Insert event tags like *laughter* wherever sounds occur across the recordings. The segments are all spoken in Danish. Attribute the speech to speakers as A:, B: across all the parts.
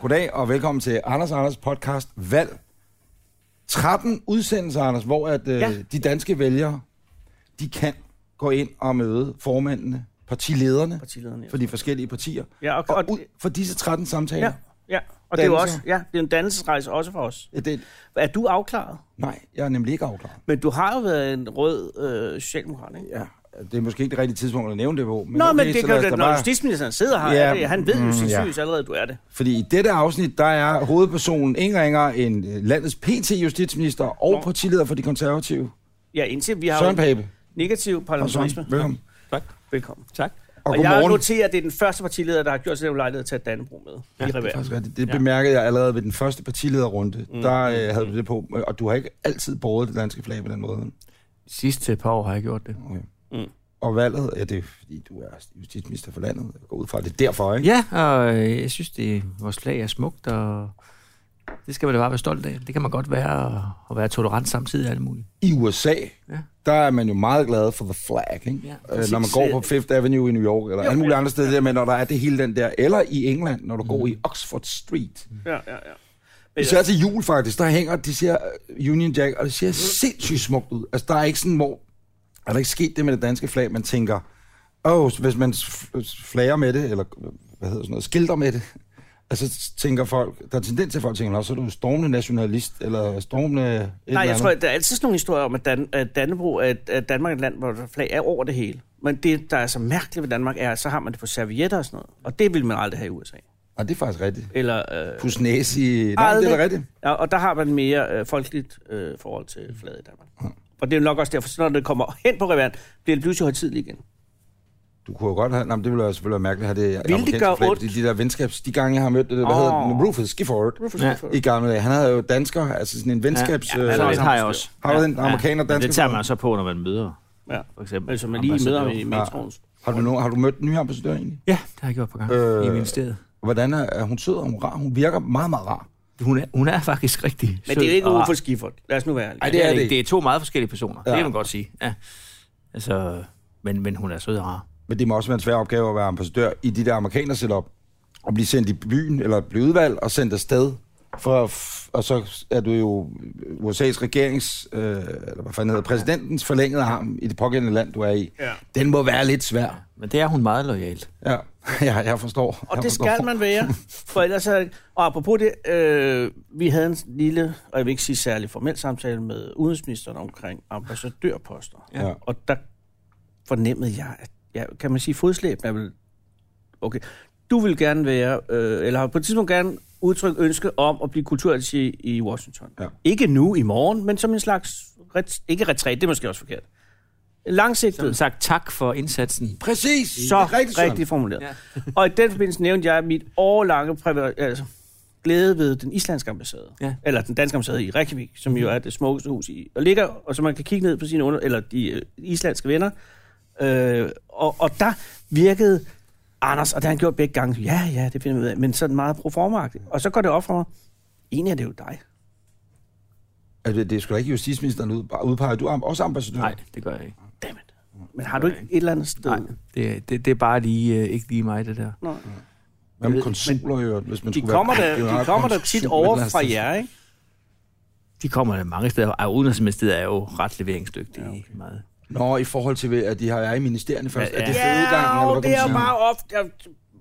A: goddag og velkommen til Anders Anders podcast Valg. 13 udsendelser, Anders, hvor at, øh, ja.
B: Ja.
A: de danske vælgere, de kan gå ind og møde formændene, partilederne
B: partilederne.
A: for de forskellige partier.
B: Ja, og,
A: Og,
B: og,
A: ud for disse 13 samtaler.
B: ja, ja, og det er jo
A: Dannelser.
B: også, ja, det er en dannelsesrejse også for os.
A: Ja, det,
B: Er du afklaret?
A: nej, jeg er nemlig ikke afklaret.
B: Men du har jo været en rød øh, socialdemokrat, ikke?
A: Ja, det er måske ikke det rigtige tidspunkt at nævne det på. Men
B: Nå,
A: okay,
B: men
A: så
B: det
A: lad os
B: kan
A: da
B: jo, når justitsministeren sidder her,
A: Ja,
B: er det, han ved jo
A: mm,
B: sandsynligvis allerede, du er det.
A: Fordi i dette afsnit, der er hovedpersonen ingen ringer end øh, landets PT-justitsminister og
B: Nå.
A: partileder for de konservative,
B: Ja, indtil vi har
A: Søren
B: jo
A: Pape.
B: negativ
A: Og Søren,
B: parlamentarisme.
A: velkommen.
C: Tak.
B: Velkommen.
C: Tak.
A: Og,
B: Og, og jeg
A: godmorgen.
B: noterer, at det er den første partileder, der har gjort sig den lejlighed til at tage Dannebro med ja, i
A: Det er
B: revær.
A: faktisk rigtigt. Det
C: Ja.
A: bemærkede jeg allerede ved den første partilederrunde. Mm. Der øh, havde du det på, og du har ikke altid båret det danske flag på den måde.
C: Sidste par år har jeg gjort det.
A: Okay.
B: Mm.
A: Og valget, ja, det er fordi, du er justitsminister for landet. Jeg går ud fra, at det er derfor, ikke?
C: Ja, og øh, jeg synes, det, vores flag er smukt, og det skal man da bare være stolt af. Det kan man godt være, og, og være tolerant samtidig og alt muligt.
A: I USA,
C: Ja.
A: der er man jo meget glad for the flag, ikke?
C: Ja,
A: Ja, øh,
C: præcis.
A: når man går på Fifth Avenue i New York, eller alle mulige andre steder, der, men når der er det hele den der, eller i England,
C: Mm.
A: når du går i Oxford Street.
B: Ja, ja, ja. Men,
A: Især til jul faktisk, der hænger, de ser øh, Union Jack, og det
B: Mm.
A: ser sindssygt smukt ud. Altså, der er ikke sådan, hvor... Er der ikke sket det med det danske flag, man tænker, åh, oh, hvis man f- flager med det, eller øh, hvad hedder sådan noget, skilter med det, altså tænker folk, der er tendens til, at folk tænker, "Nå, så er du stormende nationalist, eller stormende... et eller
B: nej, jeg
A: andet."
B: tror, at der er altid sådan nogle historier om, at, Dan, at Dannebro er, et- at Danmark er et land, hvor der flag er over det hele. Men det, der er så mærkeligt ved Danmark, er, at så har man det på servietter og sådan noget. Og det vil man aldrig have i USA.
A: Nej, det er faktisk rigtigt.
B: Eller, øh,
A: Pusnæs i... Nej, det er
B: Aldrig.
A: da rigtigt.
B: ja, og der har man mere øh, folkeligt øh, forhold til flaget i Danmark.
A: Mm.
B: Og det er jo nok også derfor, så når det kommer hen på reveren, bliver det pludselig højtidligt igen.
A: Du kunne jo godt have... Nå, men det ville jo selvfølgelig være mærkeligt at have det
B: det
A: amerikanske
B: gøre
A: flag,
B: ondt?
A: fordi de der venskabs... De gange, jeg har mødt det, der, hvad
B: Åh.
A: hedder den? Rufus Gifford.
C: Ja.
A: i gamle dage. Han havde jo dansker, altså sådan en venskabs... Ja, ja,
B: så
A: øh,
B: er
C: det
B: det
C: har jeg
B: samme
C: også.
A: har du en amerikaner
C: men
A: dansker?
C: det tager man så på, når man møder,
B: Ja.
C: for eksempel.
B: Altså, man lige med ham i
C: ambassadøren.
B: metroen.
A: Har du, nogen, har du mødt den nye ambassadør egentlig?
C: Ja, det har jeg gjort på gang
A: Øh.
C: øh, i ministeriet.
A: Hvordan er, er hun sød? Er hun rar? Hun virker meget, meget rar.
C: Hun er, hun er faktisk rigtig
B: Men det er jo ikke
C: ufor...
B: Uffe Skiffert. Lad os nu være ærlige.
A: Ej,
C: Nej, det er det ikke. Det er to meget forskellige personer.
A: Ja.
C: Ja. Det kan man godt sige. Ja. Altså, men, men hun er sød og rar.
A: Men det må også være en svær opgave at være ambassadør i de der amerikanere sætter op og blive sendt i byen, eller blive udvalgt og sendt afsted. For, at f- og så er du jo USA's regerings, øh, eller hvad fanden hedder, præsidentens forlængede arm i det pågældende land, du er i.
B: Ja.
A: Den må være lidt svær.
C: Men det er hun meget lojalt.
A: Ja, *laughs* ja jeg forstår.
B: Og
A: jeg
B: det
A: forstår.
B: skal man være, for ellers er Og apropos det, øh, vi havde en lille, og jeg vil ikke sige særlig formel samtale med udenrigsministeren omkring ambassadørposter.
A: Ja.
B: Og der fornemmede jeg, at jeg, kan man sige, fodslæben er vel... Okay, du vil gerne være, øh, eller har på et tidspunkt gerne udtrykt ønske om at blive kulturattaché i Washington.
A: Ja.
B: Ikke nu i morgen, men som en slags, ret, ikke retræt, det er måske også forkert.
C: Som
B: Langsigtet.
C: sagt, tak for indsatsen.
A: Præcis!
B: Så
A: Det er
B: rigtigt,
A: Søren.
B: rigtigt formuleret. Ja. og i den forbindelse nævnte jeg mit årlange præver, altså, glæde ved den islandske ambassade.
C: Ja.
B: Eller den danske ambassade i Reykjavik, som jo er det smukkeste hus i. Og ligger, og så man kan kigge ned på sine under, eller de øh, islandske venner. Øh, og, og der virkede Anders, og det har han gjort begge gange. Ja, ja, det finder vi ud af. Men sådan meget proformagtigt. Og så går det op for mig. Egentlig er det jo dig.
A: Altså, det, det er sgu da ikke justitsministeren ud, bare udpeger. Du er am- også ambassadør.
C: Nej, det gør jeg ikke.
B: Dammit. Men har du ikke et eller andet sted?
C: Nej, det, det, det er bare lige, øh, ikke lige mig, det der.
B: Nå.
A: Hvad med konsuler i øvrigt, hvis man
B: De
A: skulle
B: kommer,
A: være
B: der, de
A: generalkonsul
B: kommer der tit
A: et
B: over
A: eller andet
B: fra
A: sted?
B: jer, ikke?
C: De kommer der mange steder, og Udenrigsministeriet er jo ret leveringsdygtige. Ja, okay. meget.
A: Nå, i forhold til, at de har er i ministerierne først.
C: Ja,
A: Er det
C: ja.
A: fødegangen, eller hvad
B: og
A: kan
B: det
A: man
B: er
A: sige?
B: bare ofte... Jeg,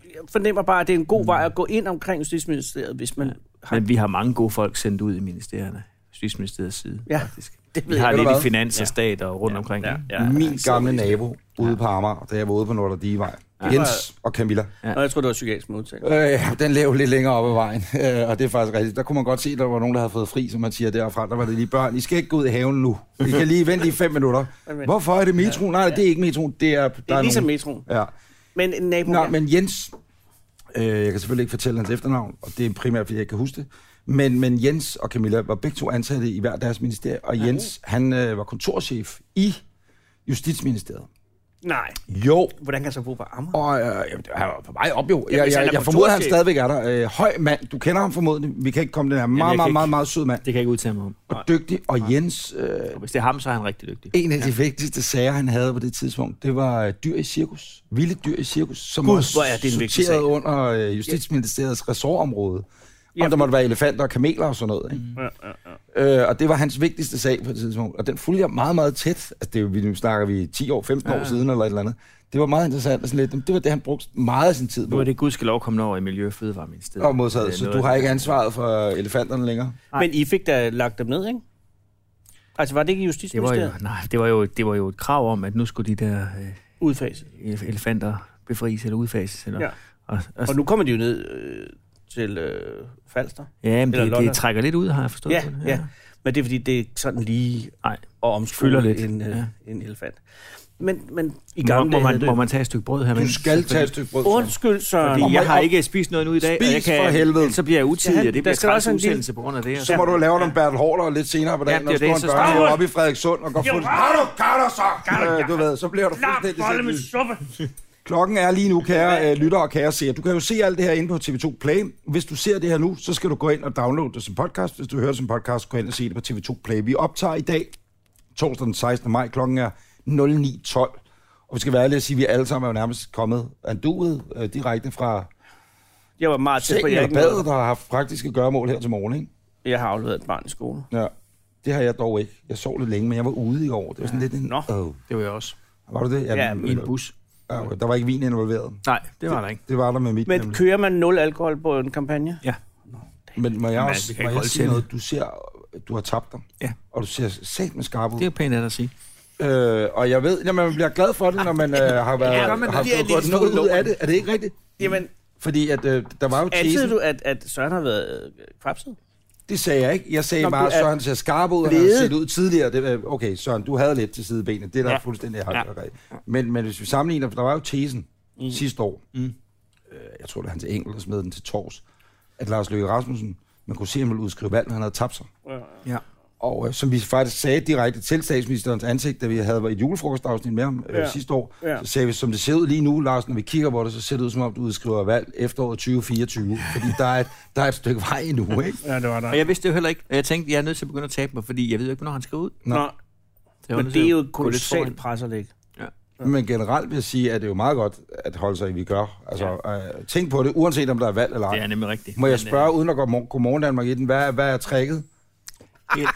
B: jeg fornemmer bare, at det er en god vej at gå ind omkring Justitsministeriet, hvis man har...
C: Men vi har mange gode folk sendt ud i ministerierne. Justitsministeriets side,
B: Ja,
C: ja, faktisk.
B: det ved
C: Vi
B: jeg
C: har
A: godt.
C: lidt
A: Hvad?
C: i finans og stat og rundt omkring.
B: ja,
C: ikke? Mm.
B: ja. bare-
A: Min gamle nabo ude på Amager, da jeg var ude på Nordre Digevej. Jens og Camilla.
C: Ja.
B: Nå, jeg tror, det var psykiatrisk modtagelse.
A: Øh, den lå lidt længere op ad vejen, øh, og det er faktisk rigtigt. Der kunne man godt se, at der var nogen, der havde fået fri, som man siger derfra. Der var det lige børn. I skal ikke gå ud i haven nu. I kan lige vente i fem minutter. Hvorfor er det metro? Nej, det er ikke metro. Det er, der
B: Det er ligesom
A: nogen.
B: metroen.
A: Ja.
B: Men en nabo...
A: Nå,
B: ja.
A: men Jens, øh, jeg kan selvfølgelig ikke fortælle hans efternavn, og det er primært, fordi jeg ikke kan huske det, men, men Jens og Camilla var begge to ansatte i hver deres ministerie, og Jens, han øh, var kontorchef i Justitsministeriet.
B: Nej.
A: Jo.
B: Hvordan kan jeg så bo på Amager?
A: Og øh, jamen, han var på vej op jo. Jeg, jeg,
B: hvis han
A: jeg,
B: er
A: jeg formoder, han
B: kontorchef.
A: stadigvæk er der. Øh, høj mand, du kender ham formodentlig. Vi kan ikke komme den her meget,
C: jeg
A: meget,
C: kan
A: meget, meget,
C: ikke-
A: meget sød mand.
C: Det kan jeg ikke udtale mig om.
A: Og dygtig. Og Jens, øh,
C: Og Hvis det er ham, så er han rigtig dygtig.
A: en af de vigtigste sager, han havde på det tidspunkt, det var øh, dyr i cirkus. Vilde dyr i cirkus, som Gud, også
B: hvor er det en vigtig
A: sorterede
B: sag.
A: under øh, Justitsministeriets ressortområde. Ja. Om der måtte være elefanter og kameler og sådan noget. Ikke?
B: Mm. Ja, ja, ja.
A: Øh, og det var hans vigtigste sag på det tidspunkt. Og den fulgte jeg meget, meget tæt. Altså, det er jo, vi nu snakker vi 10 år, 15 ja. år siden eller et eller andet. Det var meget interessant. Og sådan lidt, det var det, han brugte meget af sin tid
C: Nu
A: på.
C: er det gudskelov kommet over i Miljø- og Fødevareministeriet.
A: Og modsat,
C: Det er
A: så
C: noget
A: du
C: af
A: har
C: det.
A: ikke ansvaret for elefanterne længere.
C: Nej.
B: Men I fik da lagt dem ned, ikke? Altså, var det ikke i
C: Det var, jo,
B: Justitsministeriet?
C: nej, det, var jo, det var jo et krav om, at nu skulle de der øh,
B: Udfaset.
C: elefanter befries eller udfases. Eller,
B: Ja.
C: Og, og,
B: Og nu kommer de jo ned øh, til øh, Falster.
C: ja, men
B: eller
C: det,
B: Lolland.
C: det, trækker lidt ud, har jeg forstået.
B: Ja,
C: på det.
B: ja. Men det er fordi, det er sådan lige
C: Nej,
B: at
C: Fylder
B: omskylde
C: lidt,
B: en, øh,
C: ja.
B: en elefant. Men, men i
C: I
B: gang
C: gang må,
B: med...
C: man, må man tage et stykke brød her.
A: Du skal tage et stykke brød. Søren.
B: Undskyld, Søren.
C: Fordi
A: Og
C: jeg
A: må-
C: har
A: og-
C: ikke spist noget nu i dag, og jeg
A: Spis for
C: kan,
A: helvede.
C: ellers så bliver jeg utidig,
B: Ja,
C: og
B: der
C: det bliver
B: skal der
C: træls
B: også en lille-
C: udsendelse på grund af det.
A: Så må du lave nogle Bertel Hårder lidt senere på dagen,
C: Ja,
A: når
C: det
A: du
C: er det,
A: står en
C: så
B: starter
A: børnehave
B: du.
A: op i Frederikssund og går
B: Jo,
A: fuldstændig... Har
B: har
A: du katter så?
B: Har du-
A: Øh, du ved, så bliver du fuldstændig sindssyg.
B: suppe.
A: Klokken er lige nu, kære øh, lytter og kære seere. Du kan jo se alt det her inde på TV2 Play. Hvis du ser det her nu, så skal du gå ind og downloade det som podcast. Hvis du hører det som podcast, gå ind og se det på TV2 Play. Vi optager i dag, torsdag den 16. maj, klokken er 09.12. Og vi skal være ærlige og sige, at vi alle sammen er jo nærmest kommet anduet øh, direkte fra
B: Jeg var meget tæt på,
A: sengen
B: jeg,
A: eller
B: ikke
A: badet,
B: nåede.
A: der har haft praktiske gøremål her til morgen. Ikke?
B: jeg har afleveret et barn i skole.
A: Ja. Det har jeg dog ikke. Jeg sov lidt længe, men jeg var ude i går. Det var sådan lidt en...
B: Nå.
A: Oh.
C: Det var jeg også.
A: Var du det?
B: Ja,
A: men-
C: I en bus.
A: Ja, okay. der var ikke vin involveret.
C: Nej, det var der ikke.
A: Det var der med mit.
B: Men
A: nemlig.
B: kører man nul alkohol på en kampagne?
C: Ja.
A: Men må jeg
C: Jamen,
A: også
C: vi kan
A: må jeg
C: ikke holde
A: sige
C: til det.
A: noget? Du ser, du har tabt dig.
C: Ja.
A: Og du ser sat med skarp
C: Det er
A: ud.
C: jo pænt af dig at sige.
A: Øh, og jeg ved, at man bliver glad for det, når man øh, har været
C: Ja,
A: ja,
C: men
A: man, har
C: det er
A: fået
C: lidt
A: gået noget ud
C: lort.
A: af det. Er det ikke rigtigt?
B: Jamen,
A: Fordi at, øh, der var jo
B: antyder
A: tesen.
B: du, at, at Søren har været øh, kvapset?
A: Det sagde jeg ikke. Jeg sagde
B: Nå,
A: Nå,
B: du
A: bare, at
B: er
A: Søren ser skarp ud, og han
B: blevet-
A: har set ud tidligere. Det, øh, okay, Søren, du havde lidt til sidebenet. Det er der
B: Ja.
A: ja. fuldstændig
B: Ja.
A: ja. men, men hvis vi sammenligner, for der var jo tesen
B: Mm.
A: mm. sidste år.
C: Mm.
A: Mm. Øh, jeg tror, det var hans enkelt, der smed den til tors. At Lars Løkke Rasmussen, man kunne se, at han ville udskrive valg, når han havde tabt sig.
C: Ja.
A: Og øh, som vi faktisk sagde direkte til statsministerens ansigt, da vi havde et julefrokostafsnit med ham øh,
B: Ja.
A: ja. sidste år,
B: Ja.
A: ja. så sagde vi, som det ser ud lige nu, Lars, når vi kigger på det, så ser det ud som om, du udskriver valg efteråret 2024. fordi der er, et, der er et stykke vej endnu, ikke?
B: Ja, det var der.
C: Og jeg vidste det jo heller ikke. Og jeg tænkte, jeg er nødt til at begynde at tabe mig, fordi jeg ved jo ikke, hvornår han skal ud.
A: Nå.
B: Nå,
C: Så jeg var
B: men
C: nødt
B: det
C: til
B: er
C: at
B: jo
C: gå
B: et
C: lidt
B: kolossalt
C: foran.
B: presserlæg.
A: Men generelt vil jeg sige, at det er jo meget godt at holde sig i, vi gør. Altså, øh, tænk på det, uanset om der er valg eller
C: Det
A: ej.
C: er nemlig rigtigt.
A: Må jeg
C: Men, øh,
A: spørge, uden at gå mor- godmorgen Danmark i den, hvad er, hvad er trækket?
C: øh, Helt,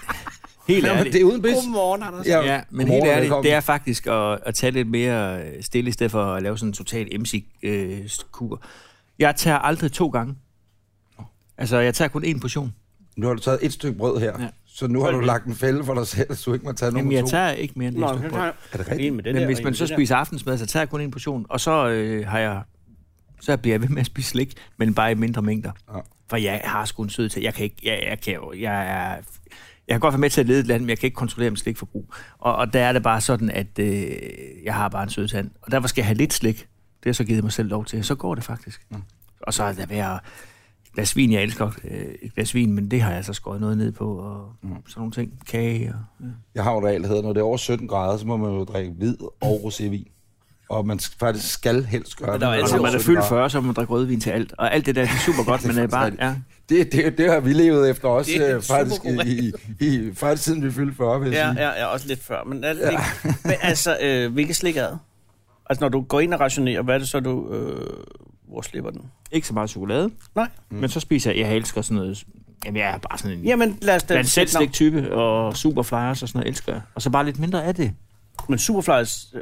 C: helt
A: Ja,
C: ærligt.
A: det er uden pis.
B: Anders.
A: Ja,
C: Ja, men
A: godmorgen
C: helt
A: og
C: ærligt,
A: velkommen.
C: det er faktisk at, at tage lidt mere øh, stille, i stedet for at lave sådan en total MC-kur. Jeg tager aldrig to gange. Altså, jeg tager kun én portion.
A: Nu har du taget et stykke brød her,
C: Ja.
A: ja. så nu har du lagt en fælde for dig selv, så du ikke må tage nogen
C: Jamen, jeg
A: to.
C: tager ikke mere end
B: Nå,
C: én stykke
B: så
C: brød.
B: tager jeg
A: Er det rigtigt?
B: en med den
C: Men
B: der,
C: hvis
B: og
C: man
B: en
C: så
B: med den
C: spiser aftensmad, så tager jeg kun en portion, og så øh, har jeg så bliver jeg ved med at spise slik, men bare i mindre mængder. Ja.
A: Ja.
C: For jeg har sgu en sød til. Jeg kan ikke, jeg, jeg kan jo, jeg er, jeg kan godt være med til at lede et land, men jeg kan ikke kontrollere mit slikforbrug. Og, og der er det bare sådan, at øh, jeg har bare en sød tand. Og derfor skal jeg have lidt slik. Det har jeg så givet mig selv lov til. Så går det faktisk. Mm. Og så er der være et glas vin, jeg elsker øh, et glas vin, men det har jeg så skåret noget ned på, og mm. sådan nogle ting. Kage og... Ja.
A: Jeg har jo en regel, der hedder, når det er over 17 grader, så må man jo drikke hvid og rosévin. Og man sk- faktisk skal helst gøre
B: Men
A: det.
B: der er
A: når
C: Og
B: altid
A: det
C: når
A: over
C: Altså, man er
A: 17
C: fyldt
A: grader.
C: 40, så må man drikke rødvin til alt. Og alt det der, det er
B: *laughs*
C: super godt, men det er bare...
A: faktisk
C: Ja.
A: Det, det, det har vi levet efter også,
B: Det er
A: øh, faktisk,
B: supergod
A: i, i, i, faktisk siden vi fyldte 40, vil jeg
B: Ja,
A: sige.
B: ja, ja, også lidt før. Men, alt ja. men altså, øh, hvilket slik er det? Altså, når du går ind og rationerer, hvad er det så, du... Øh, hvor slipper den?
C: Ikke så meget chokolade.
B: Nej.
C: Mm. Men så spiser jeg... Jeg elsker sådan noget... Jamen, jeg er bare sådan en...
B: Jamen, lad os
C: jeg er
B: da...
C: en
B: sætte
C: selvslik type, og superflyers og sådan noget elsker jeg. Og så bare lidt mindre af det.
B: navn. Men Superflies, øh,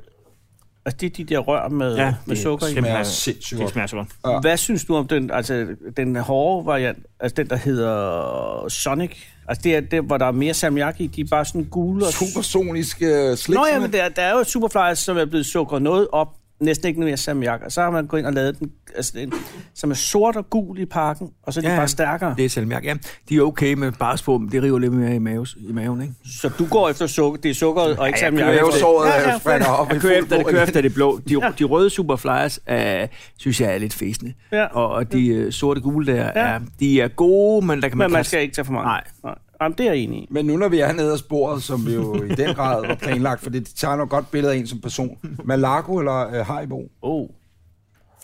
B: altså, det er de der rør med,
C: Ja,
B: ja, med
C: det-
B: sukker i.
A: Det
C: Jamen,
A: smager
C: altså,
A: sindssygt
C: Det
A: godt.
C: smager så godt.
A: Ja.
B: Hvad synes du om den, altså, den hårde variant, altså den, der hedder Sonic? Altså det er det, hvor der er mere salmiak i, de er bare sådan gule og...
A: Supersonisk øh, slik.
B: Nå ja,
A: sådan
B: men der, der er jo Superflies, som er blevet sukkeret noget op, næsten ikke mere salmiak, og så har man gået ind og lavet den, altså den, som er sort og gul i pakken, og så er de
C: Ja,
B: ja,
C: ja.
B: bare stærkere. Det.
C: Det er selvmærk. Ja, de er okay med barspå, men det river lidt mere i, maves, i maven, ikke?
B: Så du går efter sukker, det er sukkeret og ikke
C: Ja, jeg
B: salmiak.
A: Jeg er jo såret,
B: Ja, ja,
A: jeg springer op i
C: Jeg kører efter, jeg
A: fuld
C: kører
A: brug.
C: efter det blå. De,
B: Ja.
C: de røde superflyers, øh, synes jeg er lidt fæsende.
B: Ja.
C: Og, og de øh, sorte gule
B: Ja.
C: der, ja. er, de er gode, men der kan man,
B: Men man
C: kaste-
B: skal ikke tage for mange.
C: Nej.
B: Nej. Jamen, det er jeg enig i.
A: Men nu når vi er nede af sporet, som vi jo i den grad var planlagt, for det tager noget godt billede af en som person. Malago eller øh, Haribo?
B: Oh.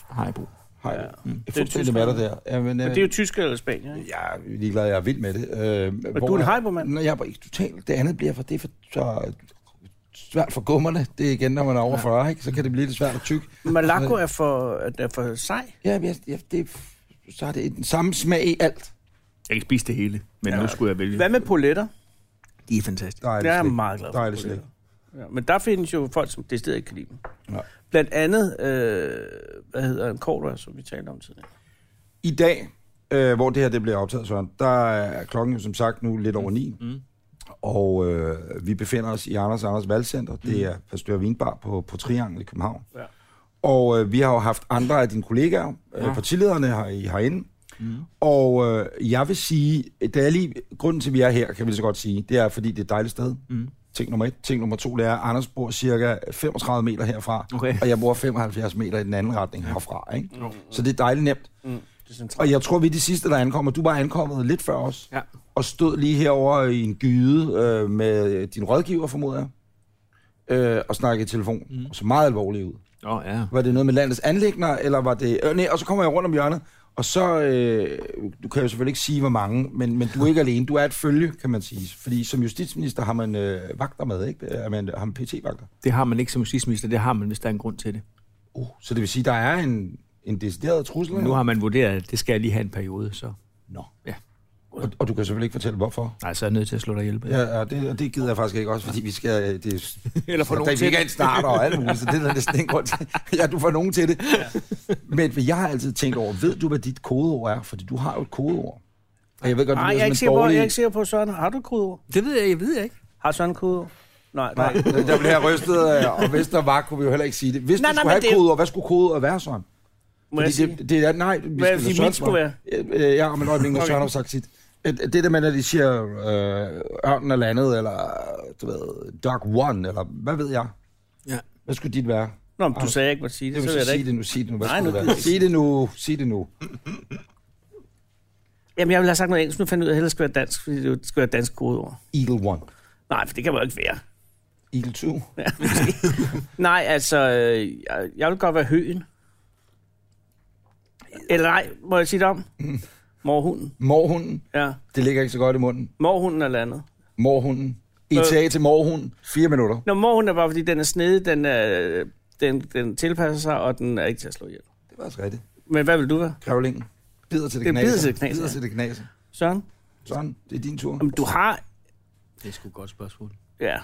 C: Haribo.
A: Haribo. Ja, mm. Det er
B: tysk,
A: fuldstændig med dig der. Ja, men, øh,
B: Men det er jo Tyskland eller Spanien, ikke?
A: Jeg er ligeglad, jeg er vild med det. Øh, men
B: du er en hypermand.
A: Når jeg er ikke totalt. Det andet bliver for, det er for så øh, svært for gummerne. Det er igen, når man er over 40, ikke? så kan det blive lidt svært at tykke.
B: Malaco er for, er for sej.
A: Ja, men jeg, jeg, det, er- så er det den samme smag i alt.
C: Jeg kan spise det hele, men ja. nu skulle jeg vælge.
B: Hvad med poletter?
C: De er fantastiske.
A: Dejligt
B: Jeg er
A: slik.
B: meget glad for
A: Dejligt slik.
B: Ja, men der findes jo folk, som decideret ikke kan lide dem.
A: Ja.
B: Blandt andet, øh, hvad hedder en Cordua, som vi talte om tidligere.
A: I dag, øh, hvor det her det bliver optaget, Søren, der er klokken jo som sagt nu lidt over ni. Mm. Og øh, vi befinder os i Anders og Anders Valgcenter. Det er Pastør Vinbar på, på Triangel i København.
B: Ja.
A: Og øh, vi har jo haft andre af dine kollegaer, ja. øh, partilederne her, i- herinde. Mm. Og øh, jeg vil sige, det er lige grunden til, at vi er her, kan vi lige så godt sige, det er, fordi det er et dejligt sted. Mm. Ting nummer et. Ting nummer to, det er, at Anders bor cirka 35 meter herfra,
C: Okay.
A: og jeg bor 75 meter i den anden retning herfra. Ikke? Mm. Så det er dejligt nemt.
B: Mm, det er centralt.
A: Og jeg tror, vi er de sidste, der ankommer. Du var ankommet lidt før os,
C: Ja.
A: og stod lige herover i en gyde øh, med din rådgiver, formoder jeg, øh, og snakkede i telefon. Mm. Og så meget alvorlig ud.
C: Nå, ja.
A: Var det noget med landets anlægner, eller var det... Øh, nej, og så kommer jeg rundt om hjørnet, og så... Øh, du kan jo selvfølgelig ikke sige, hvor mange, men, men du er ikke alene. Du er et følge, kan man sige. Fordi som justitsminister har man øh, vagter med, ikke? Øh, Man, har man PT-vagter.
C: Det har man ikke som justitsminister, det har man, hvis der er en grund til det.
A: Uh, så det vil sige, der er en, en decideret trussel.
C: Nu har man vurderet, at det skal jeg lige have en periode, så
A: Nå.
C: Ja.
A: Og, og du kan selvfølgelig ikke fortælle, hvorfor.
C: nej, så er jeg nødt til at slå dig ihjel. Ja.
A: Ja, og det, og det gider jeg faktisk ikke også, fordi vi skal... øh, Det,
C: Eller få
A: der
C: nogen
A: er
C: til det.
A: weekend starter og alt muligt, så det
B: *laughs*
A: er der næsten en grund til. Ja, du får nogen til det. Ja. Men jeg har altid tænkt over, ved du, hvad dit kodeord er? Fordi du har jo et kodeord. Og jeg ved godt,
B: Nej, jeg
A: det
B: er,
A: lyder
B: ikke
A: som
B: sikker
A: en
B: på, jeg er
A: dårlig...
B: ikke sikker på, Søren, har du kodeord?
C: *laughs* Det ved jeg, jeg ved jeg ikke.
B: Har Søren kodeord? Nej, nej.
A: Nej, der blev jeg rystet, øh, og hvis der var, kunne vi jo heller ikke sige det. Hvis
B: Nej,
A: nej, du skulle
B: nej, men
A: have
B: det er
A: et
B: jo-
A: kodeord, hvad skulle kodeordet være, Søren?
B: Må jeg sige?
A: det, det er, nej, vi
B: Hvad
A: skal
B: vil sige,
A: da sørge
B: mit
A: for-
B: skulle være?
A: Øh, øh, Ja, om en øjeblik, når Søren har sagt sit. Øh, Det der med, når de siger øh, ørnen er landet, eller du ved, Dark One, eller hvad ved jeg?
C: Ja.
A: Hvad skulle dit være?
B: Nå, men du sagde ikke, hvad sige det,
A: Det
B: så
A: Ah. vil
B: ved jeg
A: sige,
B: det
A: sige
B: ikke.
A: det nu, sig det nu. Hvad skulle det være? Sig
B: Nej, nu gider
A: det nu, sig det nu.
B: Jamen, jeg ville have sagt noget engelsk, nu fandt jeg ud af, at jeg hellere skal være dansk, fordi det jo- det skal være dansk kodeord.
A: Eagle 1.
B: Nej, for det kan man jo ikke være.
A: Eagle 2.
B: Ja, måske. nej, altså, øh, jeg- jeg vil godt være høen. Eller nej, må jeg
A: *clears throat*
B: sige det om? Morhunden.
A: Morhunden.
B: Ja,
A: Det ligger ikke så godt i munden.
B: morhunden er landet.
A: Morhunden. ETA til morhunden. Fire minutter.
B: Nå, morhunden er bare, fordi den er snedig, den, er, den, den tilpasser sig, og den er ikke til at slå ihjel.
A: Det var altså rigtigt.
B: Men hvad vil du være,
A: Krævlingen. Bider til det
B: Det
A: knaser.
B: bider til det knaser,
A: Bider
B: ja.
A: til det knaser.
B: Søren?
A: Sådan, det er din tur.
B: Om du har...
C: Det er sgu et godt spørgsmål.
B: Ja,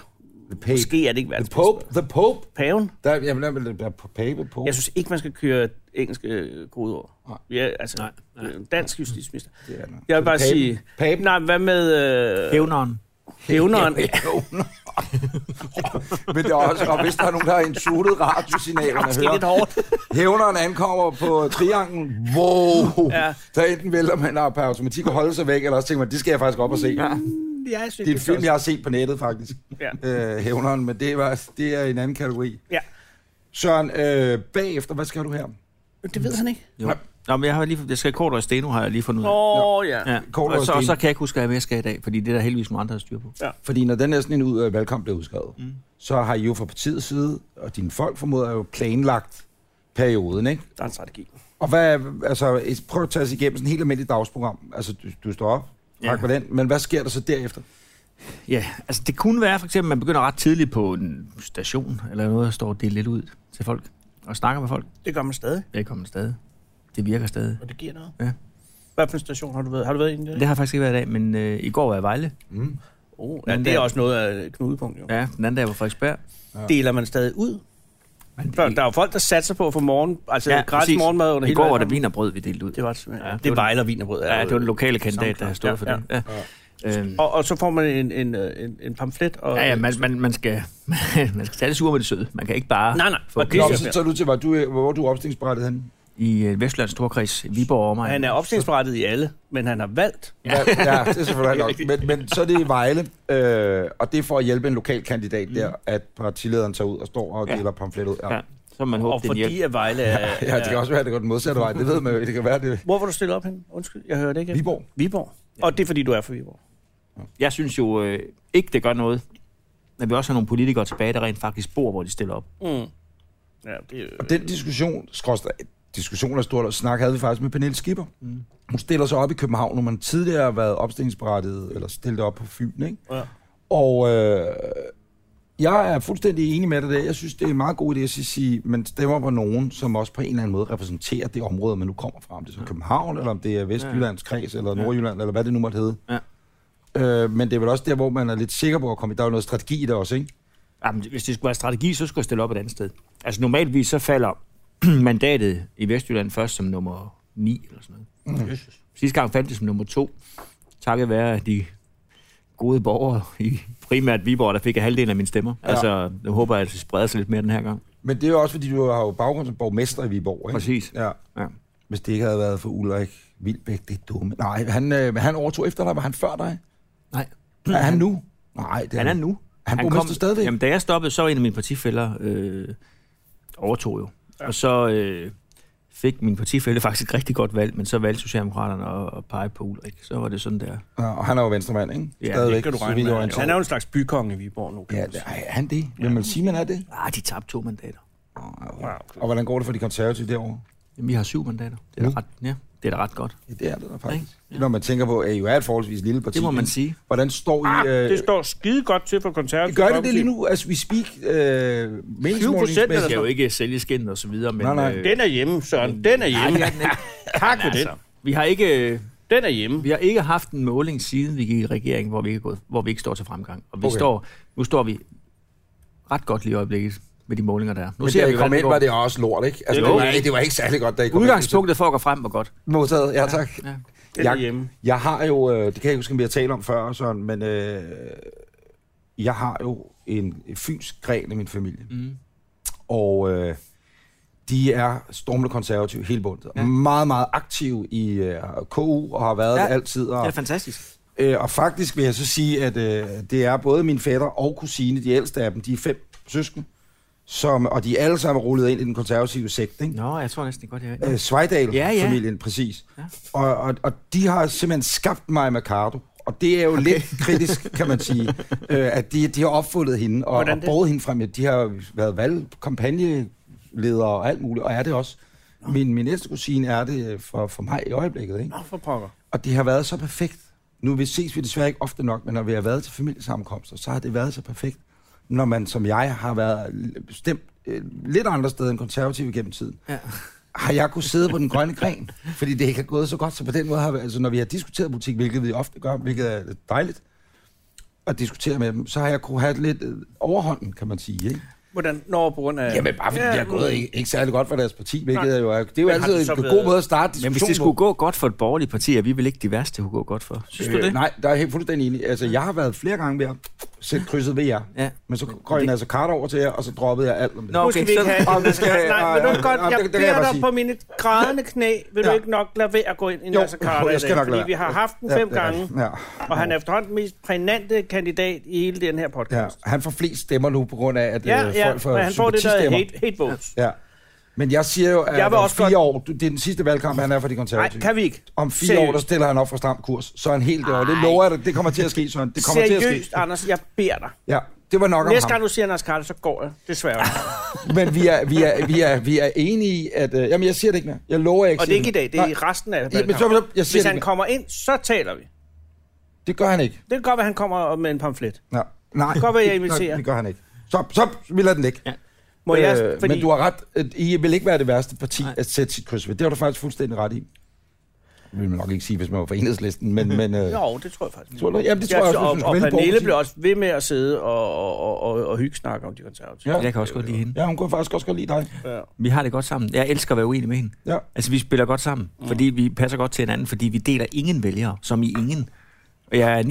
A: The Pope.
B: måske er det ikke
A: The
B: verdens
A: Pope.
B: bedste.
A: The Pope.
B: Paven?
A: Der, jamen, der, der, der, på Pape på.
B: Jeg synes ikke, man skal køre engelske øh, kodeord.
A: Nej.
B: Ja, altså,
C: Nej,
B: nej,
C: nej.
B: nej. dansk justitsminister.
A: det er den.
B: Jeg vil bare
A: Papen.
B: sige...
A: *laughs* Papen.
B: Nej, hvad med øh,
C: Hævneren.
B: hævneren? *laughs*
A: Men det er også, og hvis der er nogen, der har insultet radiosignalerne,
B: Måske lidt hårdt.
A: Hævneren ankommer på trianglen. Wow! Ja.
B: Ja.
A: Der enten vælger man at per automatik holde sig væk, eller også tænker man, det skal jeg faktisk op og se. Ja.
B: *laughs* Ja, jeg synes,
A: Det er en film, jeg har set på nettet, faktisk.
B: Ja.
A: Øh, hævneren, men det, var, det er en anden kategori.
B: ja.
A: Søren, øh, bagefter, hvad skal du her?
B: Det ved han ikke.
C: Jo.
A: Nej.
C: Nå, men jeg har lige, jeg skal kort og steno, har jeg lige fundet ud af.
B: Åh, oh, ja.
C: Ja.
A: Kortere
C: Og så,
A: Steno.
C: og så kan jeg ikke huske, hvad jeg skal i dag, fordi det er der heldigvis nogle andre, der styr på.
A: Fordi når den næsten en ud af valgkamp blev udskrevet, mm. så har I jo fra partiets side, og dine folk formoder jo planlagt perioden, ikke?
B: Der er en strategi.
A: Og hvad, altså, prøv at tage os igennem sådan et helt almindeligt dagsprogram. Altså, du, du står op,
C: Ja.
A: tak for den, men hvad sker der så derefter?
C: Ja, altså det kunne være for eksempel, at man begynder ret tidligt på en station eller noget, og står og deler lidt ud til folk og snakker med folk.
B: Det gør man stadig,
C: Velkommen stadig. Det virker stadig.
B: og det giver noget.
C: Ja.
B: Hvad for en øh? station har du været? Har du været inde i
C: Det
B: det?
C: har jeg faktisk ikke været i dag, men øh, i går var jeg i Vejle.
A: Mm.
B: Oh, ja,
C: Men
B: det er
C: der-
B: også noget af et knudepunkt, jo. Ja.
C: Ja, den anden dag var Frederiksberg.
B: Deler man stadig ud?
C: Men
B: Der, der er jo folk, der satser på at få morgen, altså ja, gratis
C: præcis.
B: morgenmad under
C: I
B: hele
C: går var der
B: valgkampen.
C: vin og brød, vi delte ud.
B: Det var det simpelthen.
C: Ja,
B: Ja,
C: det
B: det
C: var-
B: er Vejler Vinerbrød.
C: Ja, det var den lokale kandidat, der har stået for
B: Ja,
C: det. Ja. Ja. Øhm,
B: Og, og så får man en, en, øh, en, en pamflet. Og,
C: ja, ja, man, man, man, skal, *laughs* man skal tage det sure med det søde. Man kan ikke bare
B: Nej, nej.
C: få
B: Og det-
A: Nå,
B: siger
A: men så
B: jeg.
A: tager du til, hvor du, øh, hvor du er opstillingsberettet henne.
C: i øh, Vestlands Storkreds, Viborg og mig.
B: han er opstillingsberettet i alle, men han har valgt.
A: Ja. ja, *laughs* det er selvfølgelig nok. Men, men så er det i Vejle, øh, og det er for at hjælpe en lokal kandidat der, at partilederen tager ud og står og
C: Ja.
A: deler pamflet ud. Mm. Ja.
C: Ja, så man håber,
B: Og
C: det er en hjælp.
B: fordi at Vejle er...
A: ja, det kan også være, at det går den modsatte vej. Det ved man jo. ikke. Det kan være, det
B: Hvor var du stillet op hen? Undskyld, jeg hørte ikke.
A: Viborg.
B: Viborg. Og det er fordi, du er fra Viborg.
C: Jeg synes jo øh, ikke, det gør noget, at vi også har nogle politikere tilbage, der rent faktisk bor, hvor de stiller op.
B: Mm. Ja, det er
A: Og den diskussion, skråstrej, diskussion er stort, og snak havde vi faktisk med Pernille Skipper. Mm. Hun stiller sig op i København, når man tidligere har været opstillingsberettiget, eller stillet op på Fyn, ikke?
B: Ja.
A: Og øh, jeg er fuldstændig enig med dig der. Jeg synes, det er en meget god idé at sige, man stemmer på nogen, som også på en eller anden måde repræsenterer det område, man nu kommer fra. Om det er så København, eller om det er Vestjyllands kreds, eller Nordjylland, eller hvad det nu måtte hedde.
C: Ja.
A: Øh, men det er vel også der, hvor man er lidt sikker på at komme. Der er jo noget strategi i det også, ikke?
C: Jamen, hvis det skulle være strategi, så skulle jeg stille op et andet sted. Altså normalvis så falder *clears throat* mandatet i Vestjylland først som nummer 9 eller sådan noget.
B: Jesus.
C: Sidste gang faldt det som nummer 2, takket være de gode borgere i primært Viborg, der fik halvdelen af mine stemmer. Ja. Altså, jeg håber, at det spreder sig lidt mere den her gang.
A: Men det er jo også, fordi du har jo baggrund som borgmester i Viborg, ikke?
C: Præcis.
A: Ja.
C: Ja.
A: Hvis det ikke havde været for Ulrik Vilbæk, det er dumme. Nej, han, øh, han overtog efter dig. Var han før dig?
C: Nej.
A: Er han nu? Nej, det
C: Han er nu.
A: Han borgmester stadigvæk?
C: Jamen, da jeg stoppede, så var en af mine partifælder øh, overtog jo. Ja. Og så øh, fik min partifælde faktisk et rigtig godt valg, men så valgte Socialdemokraterne at, at pege på Ulrik. Så var det sådan der.
A: Ja, og han er jo venstremand, ikke?
C: Ja, det
A: Stadigvæk,
B: Kan du
A: så
B: regne
A: vidt
B: med?
A: jeg orienterer.
B: Han er jo en slags bykonge i Viborg nu. Kan
A: Ja,
B: man
A: det,
B: sige.
A: ej, er han det? Vil man sige, man er det?
C: Ah, de tabte to mandater.
A: Og hvordan går det for de konservative derovre?
C: Jamen, vi har syv mandater. Det er,
A: Mm.
C: da ret, ja, det er da ret godt.
A: Ja, det er det der faktisk. Ja. Når man tænker på, at I jo er et forholdsvis lille parti.
C: Det må man
A: ikke?
C: sige.
A: Hvordan står I...
B: Ah,
A: Øh,
B: det står skide godt til for konservative.
A: gør det det
B: Folkeparti.
A: lige nu? Altså, vi speak øh,
C: Man
A: meningsmålingsmæssigt.
C: skal jo ikke sælge skinnet og så videre, men...
A: Nej, nej.
C: Øh,
B: Den er hjemme, Søren. Den er
C: nej,
B: hjemme.
C: det er den ikke.
B: *laughs* Tak for den.
C: altså, vi har ikke...
B: Den er hjemme.
C: Vi har ikke haft en måling siden vi gik i regering, hvor vi ikke, er gået, hvor vi ikke står til fremgang. Og vi
A: Okay.
C: okay. står, nu står vi ret godt lige i øjeblikket med de målinger, der er. Nu
A: Men da I kom
C: hvordan
A: ind,
C: går.
A: var det også lort, ikke? Altså,
B: Jo.
A: det, var, ikke- det var ikke særlig godt, da I kom
C: Udgangspunktet for at gå frem var godt.
A: ind. Modtaget, ja tak.
C: Ja.
B: Den er hjemme.
A: Jeg har jo, øh, det kan jeg ikke huske, om vi har talt om før, sådan, men øh, jeg har jo en fynsk gren i min familie. Mm. Og øh, de er stormende konservative hele bundet. Ja. Meget, meget aktive i øh, KU og har været ja.
C: Ja.
A: det altid. Og,
C: Det er fantastisk.
A: Øh, og faktisk vil jeg så sige, at øh, det er både min fætter og kusine, de ældste af dem, de er fem søsken, som, og de er alle sammen rullet ind i den konservative sekt. Ikke?
C: Nå, jeg tror næsten godt, jeg
A: Øh,
C: Ja, ja.
A: Svejdal-familien, præcis.
C: Ja.
A: Og, og, og de har simpelthen skabt mig Mercado. Og det er jo okay. lidt kritisk, kan man sige, øh, at de, de har opfundet hende og,
B: Hvordan
A: og
B: det?
A: båret hende frem. De har jo været valgkampagneledere og alt muligt, og er det også. Min, min næste kusine er det øh, for, for mig i øjeblikket, ikke?
B: Nå, for pokker.
A: Og det har været så perfekt. Nu vi ses vi desværre ikke ofte nok, men når vi har været til familiesammenkomster, så har det været så perfekt. Når man som jeg har været l- stemt øh, lidt andre steder end konservative gennem tiden,
C: Ja.
A: har jeg kunnet sidde på den grønne gren, fordi det ikke har gået så godt. Så på den måde har vi, altså når vi har diskuteret politik, hvilket vi ofte gør, hvilket er lidt dejligt at diskutere med dem, så har jeg kunne have lidt øh, overhånden, kan man sige. Ikke?
B: Hvordan? Nå, på grund af...
A: Jamen bare fordi ja, de har gået ikke, ikke særlig godt for deres parti, hvilket
B: Nej.
A: er jo, er- det er jo
B: Men har
A: altid
B: det
A: en
B: så
A: god
B: været-
A: måde at starte
C: Men
A: diskussionen
C: hvis det
A: på.
C: skulle gå godt for et borgerligt parti, er vi vel ikke de værste, det kunne gå godt for. Synes du
A: Øh,
C: det?
A: Nej, der er jeg helt fuldstændig enig. Altså, jeg har været flere gange ved at sætte krydset ved jer.
C: Ja.
A: Men så går jeg altså kart over til jer, og så droppede jeg alt om det.
C: Nå,
B: Nu skal
C: okay,
B: vi ikke
C: så-
B: have...
A: Om det skal-
B: Nej, vil
A: øh,
B: du godt,
A: øh, det-
B: jeg
A: det kan jeg
B: beder
A: godt
B: dig
A: sige.
B: på mine grædende knæ, vil
A: Ja.
B: du ikke nok lade være at gå ind i
A: Jo,
B: Nasser Carter
A: jo,
B: i
A: jeg skal
B: dag,
A: nok
B: fordi
A: lade-
B: vi har haft den
A: Ja,
B: fem
A: det er
B: gange,
A: rigtigt. Ja.
B: og han er efterhånden den mest prænante kandidat i hele den her
A: Ja,
B: podcast.
A: han får flest stemmer nu, på grund af, at
B: Ja,
A: ja,
B: ja,
A: øh, folk får
B: men han får det, der er
A: sympatistemmer.
B: hate, hate votes.
A: Ja. Men jeg siger jo, at
B: Jeg vil
A: om
B: også
A: fire
B: godt-
A: år, det er den sidste valgkamp, han er for de
B: Nej,
A: konservative.
B: kan vi ikke.
A: Om fire
B: Seriøst.
A: år, der stiller han op for stram kurs. Så er han helt derovre. Det lover jeg dig. Det kommer til at ske, Søren. Det kommer til at
B: Seriøst,
A: ske.
B: Anders, jeg beder dig.
A: Ja, det var nok om
B: Næste
A: ham.
B: gang du siger Nasser Carter, så går jeg, desværre.
A: Men vi er, vi er, vi er, vi er enige i, at... Øh, jamen, jeg siger det ikke mere. Jeg lover, jeg ikke
B: Og det er
A: siger
B: ikke i dag, det er i
A: Nej,
B: resten af
A: Jamen, så-
B: valgkampen.
A: så- jeg siger
B: Hvis
A: det
B: han
A: ikke.
B: kommer ind, så taler vi. Det
A: det gør han ikke.
B: kan godt være, han kommer med en pamflet.
A: Ja. Nej,
B: Godt, hvad jeg
A: det- nej,
B: inviterer.
A: det gør han ikke. Stop, stop, vi lader den ikke. Ja,
B: Må jeg,
A: Øh, Men du har ret, at I vil ikke være det værste parti Nej. at sætte sit kryds ved. Det har du faktisk fuldstændig ret i. Det vil man nok ikke sige, hvis man var for enhedslisten, men... men øh,
B: Jo, det tror jeg faktisk.
A: Tror du, jamen, det tror
B: Jeg,
A: jeg,
B: og,
A: også,
B: og
A: hvis man skulle vælge borgerparti.
B: Pernille blev også ved med at sidde og, og, og, og, og hygge snakke om de konservative.
C: Jeg kan også godt lide hende.
A: Ja, hun kunne faktisk også godt lide dig.
B: Ja.
C: Vi har det godt sammen. Jeg elsker at være uenig med hende.
A: Ja.
C: Altså, vi spiller godt sammen, mm. fordi vi passer godt til hinanden, fordi vi deler ingen vælgere, som i ingen. Og jeg er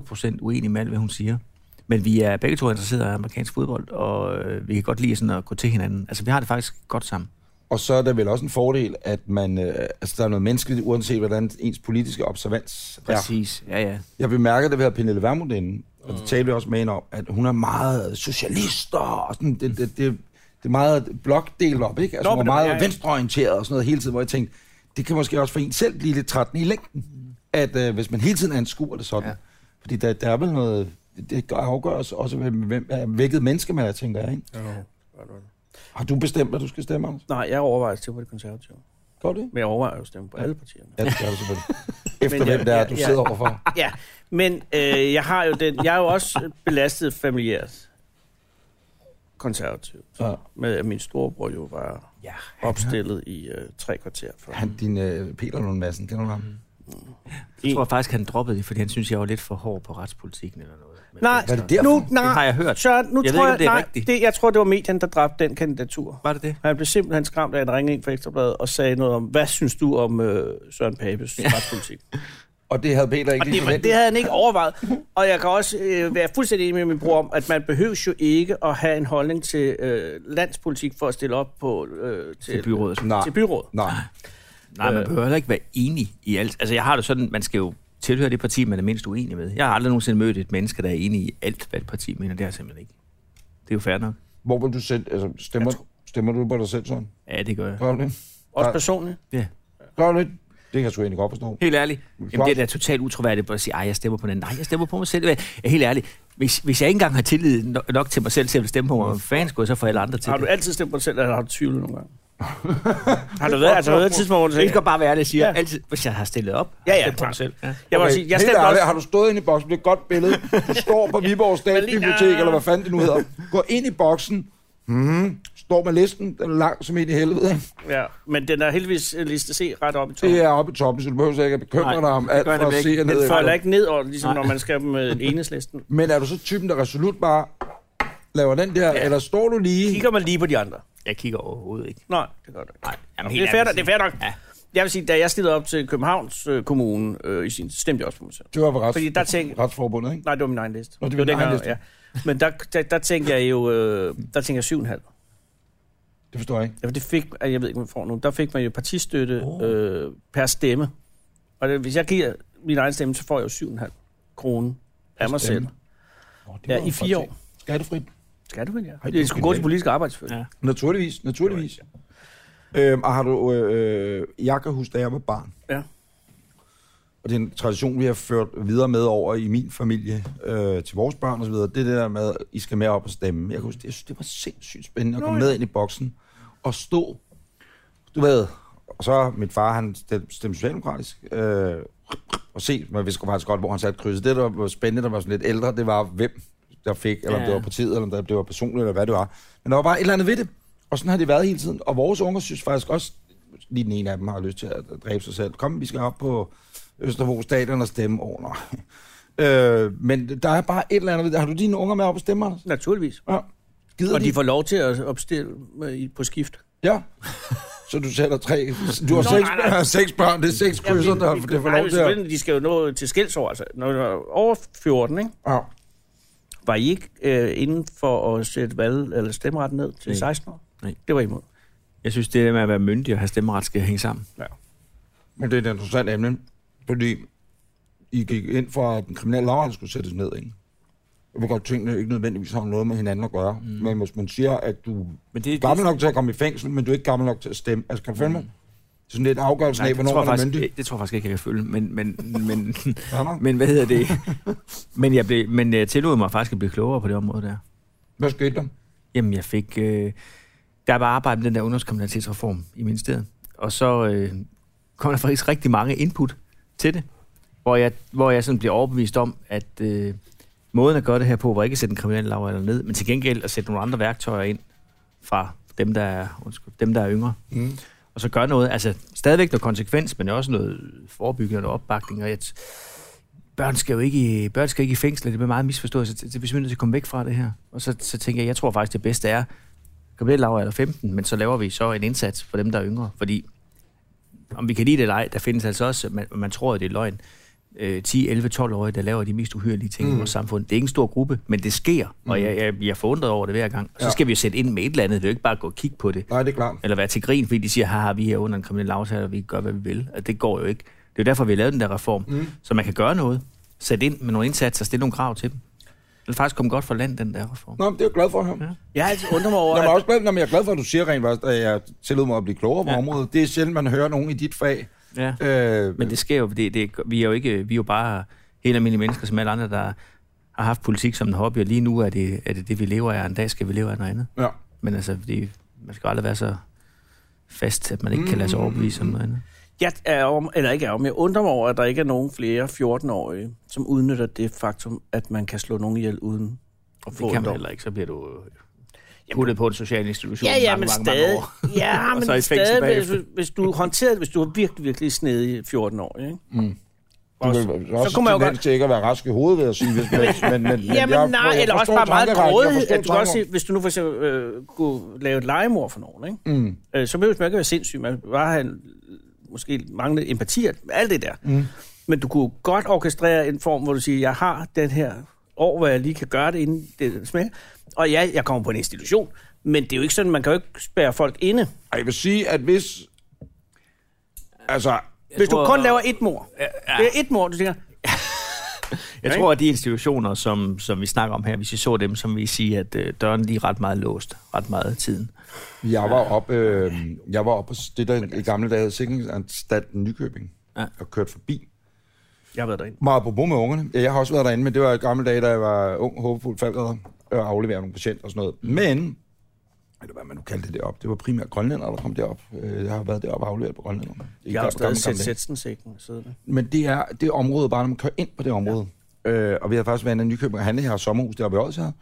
C: 99,8 procent uenig med alt, hvad hun siger. Men vi er begge to interesserede af amerikansk fodbold, og øh, vi kan godt lide sådan at gå til hinanden. Altså, vi har det faktisk godt sammen.
A: Og så er der vel også en fordel, at man, øh, altså, der er noget menneskeligt, uanset hvordan ens politiske observans er.
C: Præcis. Ja, ja.
A: Jeg bemærkede det ved at Pernille Vermund inde, og det talte vi også med hende om, at hun er meget socialister, og sådan, det, det, det, det er meget blokdelt op, ikke? Altså,
B: Nå,
A: Nå, hun
B: men
A: var
B: det-
A: meget
B: ja, ja.
A: venstreorienteret og sådan noget hele tiden, hvor jeg tænkte, det kan måske også for en selv blive lidt trætten i længden, at øh, hvis man hele tiden anskuer det sådan. Ja.
C: Ja.
A: Fordi der, der er vel noget, det gør- afgøres også, hvem, hvem, er- hvilket menneske man er, tænker jeg, ikke? Har du bestemt, at du skal stemme, Anders?
B: Nej, jeg overvejer at stemme på de konservative.
A: Gør du det?
B: Men jeg overvejer jo at stemme på alle partierne.
A: Ja, det gør du selvfølgelig. Efter
B: *laughs* Men jeg-
A: hvem det er,
B: jeg-
A: du
B: jeg-
A: sidder overfor.
B: Ja, men øh, jeg har jo den, jeg er jo også belastet familiært. konservativt.
A: Ja.
B: Med at min storebror jo var
C: Ja.
B: opstillet i øh, tre kvarter før.
A: Han, din øh, Peter Lund Madsen, kender du ham?
B: Mm.
C: Jeg tror faktisk, han droppede det, fordi han synes, jeg var lidt for hård på retspolitikken eller noget. Men
B: Nej,
A: Var det derfor?
B: nu, nej,
C: Det har jeg hørt.
B: Søren, nu
C: Jeg ved
B: tror
C: ikke, om det er
B: jeg, nej,
C: rigtigt.
B: det, jeg tror, det var medierne, der dræbte den kandidatur.
C: Var det det?
B: Han blev simpelthen skræmt af en ringning ind fra Ekstrabladet og sagde noget om, hvad synes du om øh, Søren Papes
C: *laughs*
B: retspolitik?
A: Og det havde Peter ikke
B: Og
A: lige
B: det, var-
A: forventet.
B: det havde han ikke overvejet. Og jeg kan også øh, være fuldstændig enig med min bror om, at man behøver jo ikke at have en holdning til øh, landspolitik for at stille op på, øh, til,
C: Til byrådet.
A: Nej,
B: til byrådet.
A: nej.
C: Nej, man behøver heller ikke være enig i alt. Altså, jeg har det sådan, man skal jo tilhøre det parti, man er mindst uenig med. Jeg har aldrig nogensinde mødt et menneske, der er enig i alt, hvad et parti mener. Det er jeg simpelthen ikke. Det er jo fair nok.
A: Hvor vil du sætte, altså, stemmer, stemmer du på dig selv sådan?
C: Ja, det gør jeg.
A: Gør du det?
B: Også
A: Nej.
B: personligt.
C: Ja.
A: Gør du det? Det kan jeg sgu egentlig godt forstå.
C: Helt ærligt. Jamen, det er da totalt utroværdigt at sige, at jeg stemmer på den. Nej, jeg stemmer på mig selv. Ja, helt ærligt. Hvis, hvis jeg ikke engang har tillid no- nok til mig selv til at stemme på mig, hvad fanden skulle jeg så få alle andre til
B: Har du
C: det?
B: altid stemt på dig selv, eller har du tvivlet nogle
C: *laughs*
B: gange? har du været, altså, været et tidspunkt, hvor du
C: Jeg
B: tænker,
C: skal bare være ærlig og sige,
B: Ja.
C: ja. altid, hvis jeg har stillet op,
B: Ja,
C: har
B: ja,
C: stemt på
B: klart.
C: mig selv. Ja.
B: jeg må sige, jeg
A: helt
B: stemte
A: ærligt,
B: også...
A: har du stået inde i boksen, det er et godt billede. Du står på
B: *laughs*
A: Viborg Statsbibliotek, eller hvad fanden det nu hedder. Gå ind i boksen, hmm, står med listen, den er lang som ind i helvede. ikke?
B: Ja, men den er heldigvis øh, liste C ret op i toppen.
A: Det er oppe i toppen, så du behøver ikke at bekymre
C: Nej,
A: dig om
C: det
A: alt
C: gør jeg
A: fra at
C: nemlig
A: se
C: ikke.
A: og ned.
B: Den falder
A: efter.
B: ikke ned over, ligesom når man skal med en enhedslisten.
A: Men er du så typen, der resolut bare laver den der, ja. eller står du lige...
B: Kigger man lige på de andre?
C: Jeg kigger overhovedet ikke.
B: Nej, det gør du ikke.
C: Nej, jamen,
B: Det er
C: helt
B: fair,
C: ærligt.
B: nok- det er fair nok.
C: Ja.
B: Jeg vil sige, da jeg stillede op til Københavns øh, Kommune øh, i sin, stemte jeg også på mig selv.
A: Det var på rets,
B: Fordi der tænkte
A: retsforbundet, ikke?
B: Nej, det var min egen liste.
A: Nå, det var din
B: dengang,
A: egen liste.
B: Ja. Men der, der, der tænkte jeg jo, øh, der tænkte jeg syv og en halv.
A: Det forstår jeg ikke.
B: Ja, for det fik, altså, jeg ved ikke, om man får nu, der fik man jo partistøtte oh. øh, per stemme. Og det, hvis jeg giver min egen stemme, så får jeg jo syv og en halv kroner af mig
A: stemme.
B: selv.
A: Nå, det
B: Ja,
A: var
B: i
A: jo
B: fire
A: faktisk-
B: år.
A: Skattefrit.
B: Skal du vel, ja?
A: Ej,
B: Det,
A: det er
B: det skulle gå til
A: genialt.
B: politisk arbejde, selvfølgelig.
C: Ja.
A: Naturligvis, naturligvis. Øhm, og har du... Øh, øh, jeg kan huske, da jeg var barn.
B: Ja.
A: Og det er en tradition, vi har ført videre med over i min familie, øh, til vores børn osv. Det er det der med, at I skal med op og stemme. Jeg kan huske, jeg synes, det var sindssygt spændende at komme med ind i boksen og stå. Du ved, og så mit far, han stemte stemte socialdemokratisk. Øh, og se, man vidste faktisk godt, hvor han satte krydset. Det, der var spændende, der var sådan lidt ældre, det var, hvem der fik, eller om
C: Ja.
A: det var partiet, eller om det var personligt, eller hvad det var. Men der var bare et eller andet ved det. Og sådan har det været hele tiden. Og vores unger synes faktisk også, lige den ene af dem har lyst til at dræbe sig selv. Kom, vi skal op på Østerbro Stadion og stemme over. Oh, øh, men der er bare et eller andet ved det. Har du dine unger med op og stemme, Anders?
B: Naturligvis.
A: Ja. Gider
B: Og de får lov til at opstille med, i- på skift.
A: Ja. Så du sætter tre... Du har seks,
B: nej, nej.
A: seks børn, det er seks krydser, der det får
B: Nej,
A: lov
B: men
A: til at...
B: selvfølgelig, De skal jo nå til skilsår, altså. Når du er over 14, ikke?
A: Ja.
B: var I ikke øh, inden for at sætte valg, eller stemmeretten ned til
C: Nej.
B: 16 år?
C: Nej.
B: Det var I imod.
C: Jeg synes, det der med at være myndig og have stemmeret skal hænge sammen.
A: Men det er et interessant emne, fordi I gik ind for, at den kriminelle lavalder skulle sættes ned, ikke? Jeg ved godt, tingene ikke nødvendigvis har noget med hinanden at gøre, mm. men hvis man siger, at du
C: Men
A: er
C: det,
A: gammel nok til at komme i fængsel, men du er ikke gammel nok til at stemme, altså kan du følge mig? Sådan lidt afgørelsen af,
C: det, tror
A: hvornår
C: jeg
A: man er
C: faktisk,
A: myndig.
C: det, det tror jeg faktisk ikke, jeg kan følge. Men, men, men,
A: Ja, nok.
C: men hvad hedder det? *laughs* men, jeg blev, men jeg tillod mig faktisk at blive klogere på det område der.
A: Hvad skete der?
C: Jamen, jeg fik... Øh, der var arbejdet med den der ungdomskriminalitetsreform i ministeriet. Og så øh, kom der faktisk rigtig mange input til det, hvor jeg, hvor jeg sådan blev overbevist om, at øh, måden at gøre det her på, var ikke at sætte en kriminel lavalder ned, men til gengæld at sætte nogle andre værktøjer ind fra dem, der er, undskyld, dem, der er yngre.
A: Mm.
C: og så gøre noget, altså stadigvæk noget konsekvens, men også noget forebyggende og noget opbakning, og jeg t- børn skal jo ikke, i- børn skal ikke i fængsel, og det bliver meget misforstået, så det det bliver simpelthen nødt til at komme væk fra det her. Og så, så tænker jeg, jeg tror faktisk, det bedste er, kriminelle eller 15, men så laver vi så en indsats for dem, der er yngre, fordi om vi kan lide det eller ej, der findes altså også, man, man tror, at det er løgn, øh, 10, 11, 12-årige, der laver de mest uhyrlige ting mm. i vores samfund. Det er ikke en stor gruppe, men det sker, og jeg, jeg, jeg er forundret over det hver gang. Og så
A: Ja.
C: skal vi jo sætte ind med et eller andet, det er jo ikke bare at gå og kigge på det
A: Nej, det er klart.
C: eller være til grin, fordi de siger, haha, vi er under en kriminel aftale, og vi gør, hvad vi vil. Og det går jo ikke. Det er jo derfor, vi har lavet den der reform. Mm. Så man kan gøre noget. Sætte ind med nogle indsatser, stille nogle krav til dem. Den er faktisk kommet godt for land, den der reform.
A: Nå, men det er jeg glad for at høre. Ja.
B: Jeg har altid undret mig over,
A: Jeg er,
B: at,
A: også glad, Nå, men jeg er glad for, at du siger rent faktisk, at jeg tillod mig at blive klogere på ja. området. Det er sjældent, man hører nogen i dit fag.
C: Ja.
A: Øh,
C: Men det sker jo, det, det, vi er jo ikke, vi er jo bare helt almindelige mennesker, som alle andre, der har haft politik som en hobby, og lige nu er det er det, det, vi lever af, og en dag skal vi leve af noget andet.
A: ja.
C: Men altså, det, man skal aldrig være så fast, at man ikke kan lade sig overbevise om noget andet.
B: jeg er om, eller ikke er om, jeg undrer mig over, at der ikke er nogen flere 14-årige, som udnytter det faktum, at man kan slå nogen ihjel uden at få
C: Det
B: en
C: kan man
B: dom.
C: heller ikke, så bliver du... øh, puttet på en social institution
B: Ja, ja,
C: mange,
B: men
C: mange,
B: stadig.
C: mange
B: *laughs*
C: år.
B: Ja,
C: *laughs* Og
B: men
C: så i fængsel
B: stadig, hvis,
C: bagefter.
B: hvis du håndterede det, hvis du var virkelig, virkelig snedig i 14 år, ikke?
A: Også,
B: Også-
A: også
B: så kunne man jo godt...
A: til ikke at være rask i hovedet, vil jeg sige. Hvis
B: *laughs*
A: man, men, men, men
B: Jamen
A: jeg,
B: nej,
A: jeg
B: eller også
A: forstår
B: bare meget
A: tankerækken, jeg
B: grådighed.
A: forstår
B: At du kan også
A: tanken.
B: sige, hvis du nu for eksempel øh, kunne lave et legemord for nogen, ikke? Mm. Øh, så behøver man ikke være sindssyg. Man kan bare have en, måske manglende empati, og alt det der. Mm. Men du kunne godt orkestrere en form, hvor du siger, jeg har den her år, hvor jeg lige kan gøre det, inden det smager. Og ja, jeg kommer på en institution, men det er jo ikke sådan, man kan jo ikke spærre folk inde.
A: Og Jeg vil sige, at hvis... Altså,
B: Hvis du
C: tror-
B: kun laver et mor. Ja, ja. Det er et mor, du tænker,
C: Jeg tror, at de institutioner, som, som vi snakker om her, hvis I så dem, som vi siger, at øh, døren lige er ret meget låst, ret meget af tiden.
A: jeg var op, øh, jeg var op på det, der i gamle dage hed Sikringsanstalten Nykøbing,
C: Ja.
A: og kørt forbi.
B: jeg har været derinde.
A: Meget på med ungerne. Ja, Jeg har også været derinde, men det var i gamle dage, da jeg var ung, håbefuld falder og afleverede nogle patienter og sådan noget. Men, eller hvad man nu kaldte det derop, det var primært grønlændere, der kom derop. Øh, Jeg har været deroppe og afleveret på grønlænderne. I
B: Jeg har
A: gamle-
B: jo stadig
A: gamle-
B: set
A: gamle dage.
B: Setsen-sækken siddende.
A: Men det er det område, bare når man kører ind på det område. Ja. Øh, og vi har faktisk været inde i Nykøbing og handle her, sommerhus deroppe i Odsherred.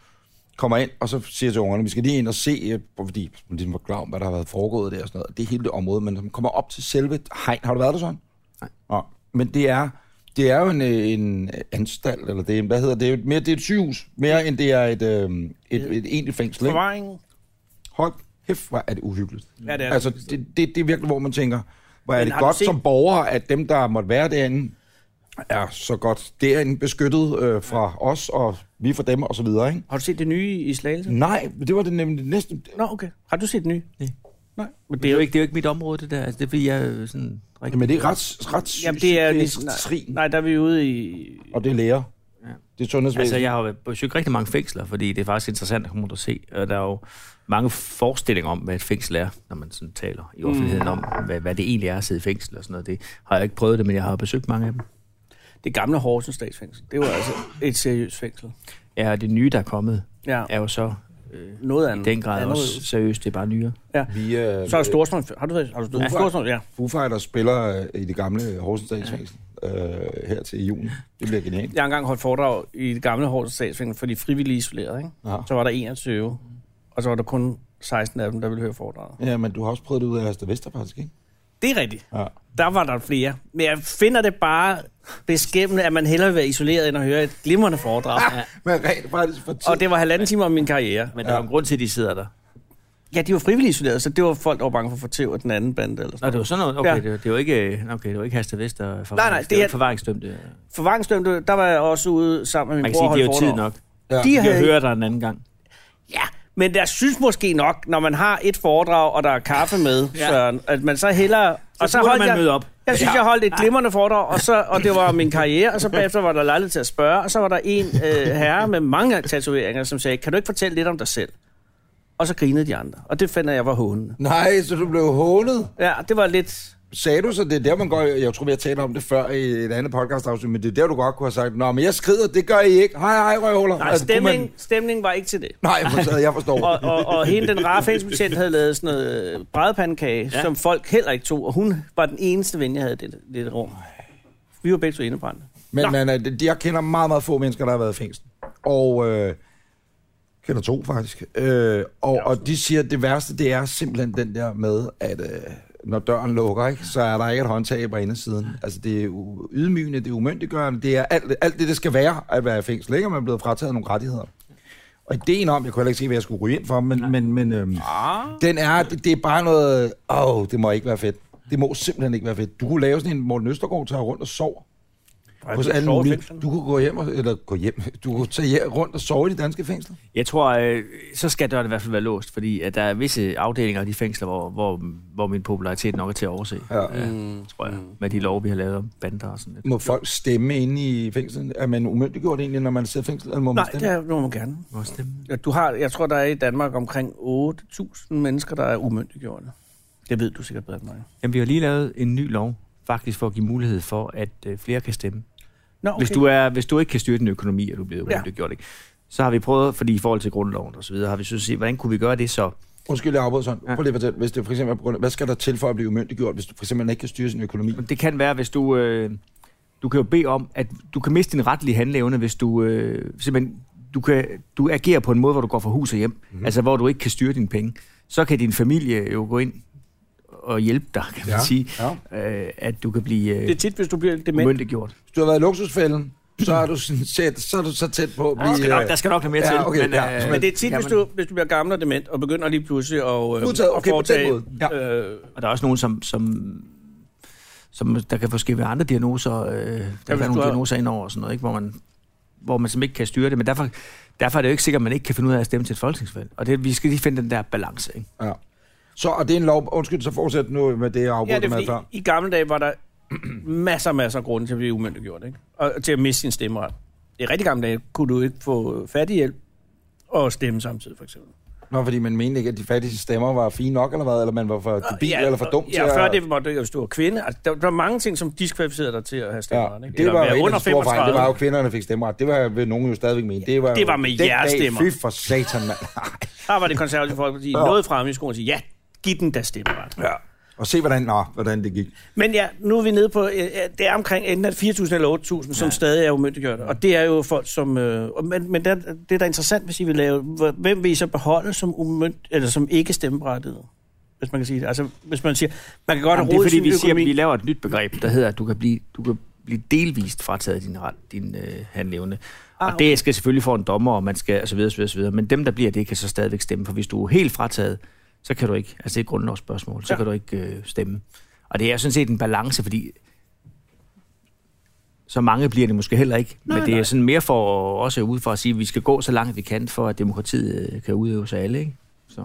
A: Kommer ind, og så siger jeg til ungerne, vi skal lige ind og se, øh, fordi man ligesom var klar om, hvad der har været foregået der og sådan noget. Det er hele det område, men når man kommer op til selve hegn. Har du været der sådan? Nej. Nå. Men det er, det er jo en, øh, en anstalt, eller det er, en- hvad hedder det, Det er jo mere, det er et sygehus, mere end det er et, øh, et, et, et egentligt fængsel. Ikke?
B: Forvaringen.
A: Hold kæft, hvor er det uhyggeligt.
B: Ja, det er det.
A: altså, det, det, det er virkelig, hvor man tænker, hvor er
B: Men
A: det
B: har du
A: godt
B: set-
A: som borger, at dem, der måtte være derinde, er så godt derinde beskyttet øh, fra os, og vi fra dem, og så videre, ikke?
B: Har du set det nye i Slagelse?
A: Nej, det var det nemlig det næste.
B: Nå, okay. Har du set det nye?
C: Nej.
B: Nej.
C: Men det er jo ikke, det er jo ikke mit område, det der. Altså, det er fordi, jeg er øh, sådan rigtig...
A: Jamen, det er ret, ret sygt.
B: Jamen, det er,
A: det
B: lige-
A: er trin,
B: nej, der er vi ude i...
A: og det er læger.
C: Ja.
A: Det er sundhedsvæsen.
C: Altså, jeg har jo besøgt rigtig mange fængsler, fordi det er faktisk interessant at komme rundt og se. Og der er jo mange forestillinger om, hvad et fængsel er, når man sådan taler i offentligheden mm. om, hvad, hvad det egentlig er at sidde i fængsel og sådan noget. Det har jeg ikke prøvet det, men jeg har besøgt mange af dem.
B: Det gamle Horsens statsfængsel. Det var altså et seriøst fængsel.
C: Ja, og det nye, der er kommet,
B: Ja,
C: er jo så øh,
B: noget
C: i
B: andet.
C: den grad
B: andet.
C: også seriøst. Det er bare nyere.
B: Ja.
A: Vi, øh,
B: Så er der Storstrøm. Har du det? Har du
A: Ja.
B: ja. Storstrøm? Ja.
A: Foo Fighters spiller øh, i det gamle Horsens Statsfængsel øh, her til juni. Det bliver genialt.
B: Jeg har engang holdt foredrag i det gamle Horsens statsfængsel for de frivillige isolerede. Ikke?
A: Ja.
B: Så var der 21, og så var der kun 16 af dem, der ville høre foredraget.
A: Ja, men du har også prøvet det ud af Hasta Vester, faktisk, ikke?
B: Det er rigtigt.
A: Ja.
B: Der var der flere. Men jeg finder det bare beskæmmende, at man hellere vil være isoleret, end at høre et glimrende foredrag. Ja.
A: *laughs* Men rent faktisk for tid.
B: Og det var halvanden time om min karriere.
C: Men der er jo en grund til, at de sidder der.
B: Ja, de var frivillige isoleret, så det var folk, der var bange for at få tæv af den anden bande. Eller sådan.
C: Nå, det var sådan noget. Okay,
B: Ja.
C: ja. det, var- det, var ikke, øh, okay, det var ikke Haste Vest og forvarings,
B: Nej, nej,
C: det,
B: det
C: var
B: er-
C: ikke forvaringsdømte. Man
B: Forvaringsdømte, der var jeg også ude sammen med min
C: kan
B: bror
C: sige,
B: og
C: det er jo
B: holdt
C: tid
B: foredrag.
C: nok.
A: Ja.
B: De
C: De har
B: havde,
C: hørt dig en anden gang.
B: Ja, men jeg synes måske nok, når man har et foredrag, og der er kaffe med, ja.
C: Ja.
B: Søren, at man så hellere... og så
C: burde
B: holdt
C: man
B: jeg,
C: møde op.
B: Jeg synes, jeg holdt et glimrende foredrag, og, så, og det var min karriere, og så bagefter var der lejlighed til at spørge, og så var der en øh, herre med mange tatoveringer, som sagde, kan du ikke fortælle lidt om dig selv? Og så grinede de andre, og det fandt jeg, jeg var hånende.
A: Nej, så du blev hånet.
B: Ja, det var lidt...
A: Sagde du så, det er der, man går... Jeg tror, vi har talt om det før i et andet podcast afsnit, men det er der, du godt kunne have sagt, Nå, men jeg skrider, det gør I ikke. Hej, hej, røvhuller.
B: Nej,
A: Altså, kunne
B: stemning, stemning var ikke til det.
A: Man... Nej, for sad, jeg forstår.
B: *laughs* Og, og, og hende, den rare fængselsbetjent, havde lavet sådan noget øh, brædepandekage, ja. som folk heller ikke tog, og hun var den eneste ven, jeg havde i det, det rum. Vi var begge to indebrændte.
A: Men
B: Nå.
A: man, er- de- jeg kender meget, meget få mennesker, der har været i fængsel. Og øh, kender to, faktisk. Øh, og, og de siger, at det værste, det er simpelthen den der med, at øh, når døren lukker, ikke, så er der ikke et håndtag på indersiden. Altså, det er u- ydmygende, det er umyndiggørende, det er alt, alt det, det skal være at være i fængsel. Ikke? Og man er blevet frataget nogle rettigheder. Og ideen om, jeg kunne heller ikke se, hvad jeg skulle ryge ind for, men, men, men øhm, den er, det, det er bare noget, åh, oh, det må ikke være fedt. Det må simpelthen ikke være fedt. Du kunne lave sådan en Morten Østergaard, tager rundt og sover hos alle mulige. Du kunne gå hjem, og, eller gå hjem, du kunne tage hjem, rundt og sove i de danske fængsler.
C: Jeg tror, øh, så skal døren i hvert fald være låst, fordi at der er visse afdelinger i de fængsler, hvor, hvor, hvor min popularitet nok er til at overse,
A: Ja. Mm.
C: ja. øh, tror jeg, med de lov, vi har lavet om bander og sådan lidt.
A: Må folk stemme inde i fængslet? Er man umyndiggjort egentlig, når man sidder i fængsel? Eller må man
B: Nej,
A: stemme?
B: det er- må man gerne.
C: Hvor stemme?
B: Ja, Du har, jeg tror, der er i Danmark omkring 8.000 mennesker, der er umyndiggjorte. Det ved du sikkert bedre end mig.
C: Jamen, vi har lige lavet en ny lov, faktisk for at give mulighed for, at øh, flere kan stemme.
B: Nå,
C: Okay. Hvis, du er, hvis du ikke kan styre din økonomi, og du bliver
B: Ja.
C: ja. gjort, ikke? så har vi prøvet, fordi i forhold til grundloven og så videre, har vi synes, hvordan kunne vi gøre det så?
A: Undskyld, jeg afbryder sådan. Prøv lige at fortælle, hvis det for eksempel er på grund af, hvad skal der til for at blive umyndiggjort, hvis du for eksempel ikke kan styre sin økonomi?
C: Det kan være, hvis du... Øh, du kan jo bede om, at du kan miste din retlige handleevne, hvis du øh, simpelthen du, kan, du agerer på en måde, hvor du går fra hus og hjem, mm-hmm. altså hvor du ikke kan styre dine penge, så kan din familie jo gå ind og hjælpe dig, kan man
A: Ja,
C: sige,
A: ja.
C: Øh, at du kan blive
B: Det er
C: øh,
B: tit, hvis du bliver dement.
C: myndiggjort.
A: Hvis du har været i luksusfælden, så er du, sådan, set, så, er du så tæt på at blive... øh,
C: skal nok- der skal nok lidt mere
A: ja,
C: til,
A: Okay,
C: men,
A: men, ja.
C: øh,
B: Men det er tit, hvis
C: Jamen.
B: du, hvis du bliver gammel og dement, og begynder lige pludselig at, øh,
A: Modtaget. Okay,
B: at
A: på den
B: foretage...
A: måde. Ja.
B: Øh,
C: Og der er også nogen, som, som, som der kan måske være andre diagnoser, øh, der kan være
B: du
C: nogle
B: har-
C: diagnoser indover og sådan noget, ikke? Hvor, man, hvor man simpelthen ikke kan styre det, men derfor, derfor er det jo ikke sikkert, at man ikke kan finde ud af at stemme til et folketingsvalg. Og det, vi skal lige finde den der balance, ikke?
A: ja. Så, og det er en lov... Undskyld, så fortsæt nu med det, jeg
B: ja,
A: afbrød
B: det
A: ja,
B: er
A: med
B: fordi,
A: før.
B: i gamle dage var der *clears throat* masser masser af grunde til at blive umyndiggjort, ikke? Og til at miste sin stemmeret. I rigtig gamle dage kunne du ikke få fattighjælp og stemme samtidig, for eksempel.
A: Nå, fordi man mente ikke, at de fattigste stemmer var fine nok, eller hvad? Eller man var for debil, ja, eller for dum
B: og-
A: til
B: ja, før
A: at...
B: det måtte du ikke, hvis du var kvinde. Altså, der, der var mange ting, som diskvalificerede dig til at have
A: Ja,
B: stemmeret, ikke?
A: det var
B: være
A: jo en
B: under
A: af de store fejl. Det
B: 35.
A: var jo, at kvinderne fik stemmeret. Det var vil nogen jo stadigvæk mene. Det var,
B: det
A: jo-
B: var med
A: den
B: jeres
A: dag,
B: stemmer.
A: Fy for satan, mand. *laughs*
B: Der var det konservative folkeparti
A: Ja.
B: noget frem i skolen og sige, ja, giv den da stemmeret.
A: ja. Og se, hvordan, nå, hvordan det gik.
B: Men ja, nu er vi nede på, øh, øh, det er omkring enten at 4.000 eller 8.000, som stadig er umyndiggjorte. Og det er jo folk, som... Øh, og- men men der, det er da interessant, hvis I vil lave... hvor- Hvem vil I så beholde som, umynd, eller som ikke stemmeberettiget? Hvis man kan sige det. Altså, hvis man siger, man kan godt
C: Jamen,
B: have
C: det er
B: råd
C: fordi, vi
B: sin
C: siger, at
B: økonomi.
C: vi laver et nyt begreb, der hedder, at du kan blive, du kan blive delvist frataget din ret, din øh, handlevne.
B: Ah,
C: Ah, og det skal selvfølgelig for en dommer, og man skal, og så videre, så videre, så videre. Men dem, der bliver det, kan så stadigvæk stemme, for hvis du er helt frataget, så kan du ikke, altså det er et grundlovsspørgsmål, så
B: Ja.
C: ja. kan du ikke øh, stemme. Og det er jo sådan set en balance, fordi så mange bliver det måske heller ikke, nej, men det er
B: nej.
C: sådan mere for også ud for at sige, at vi skal gå så langt vi kan, for at demokratiet øh, kan udøves af alle, ikke? Så.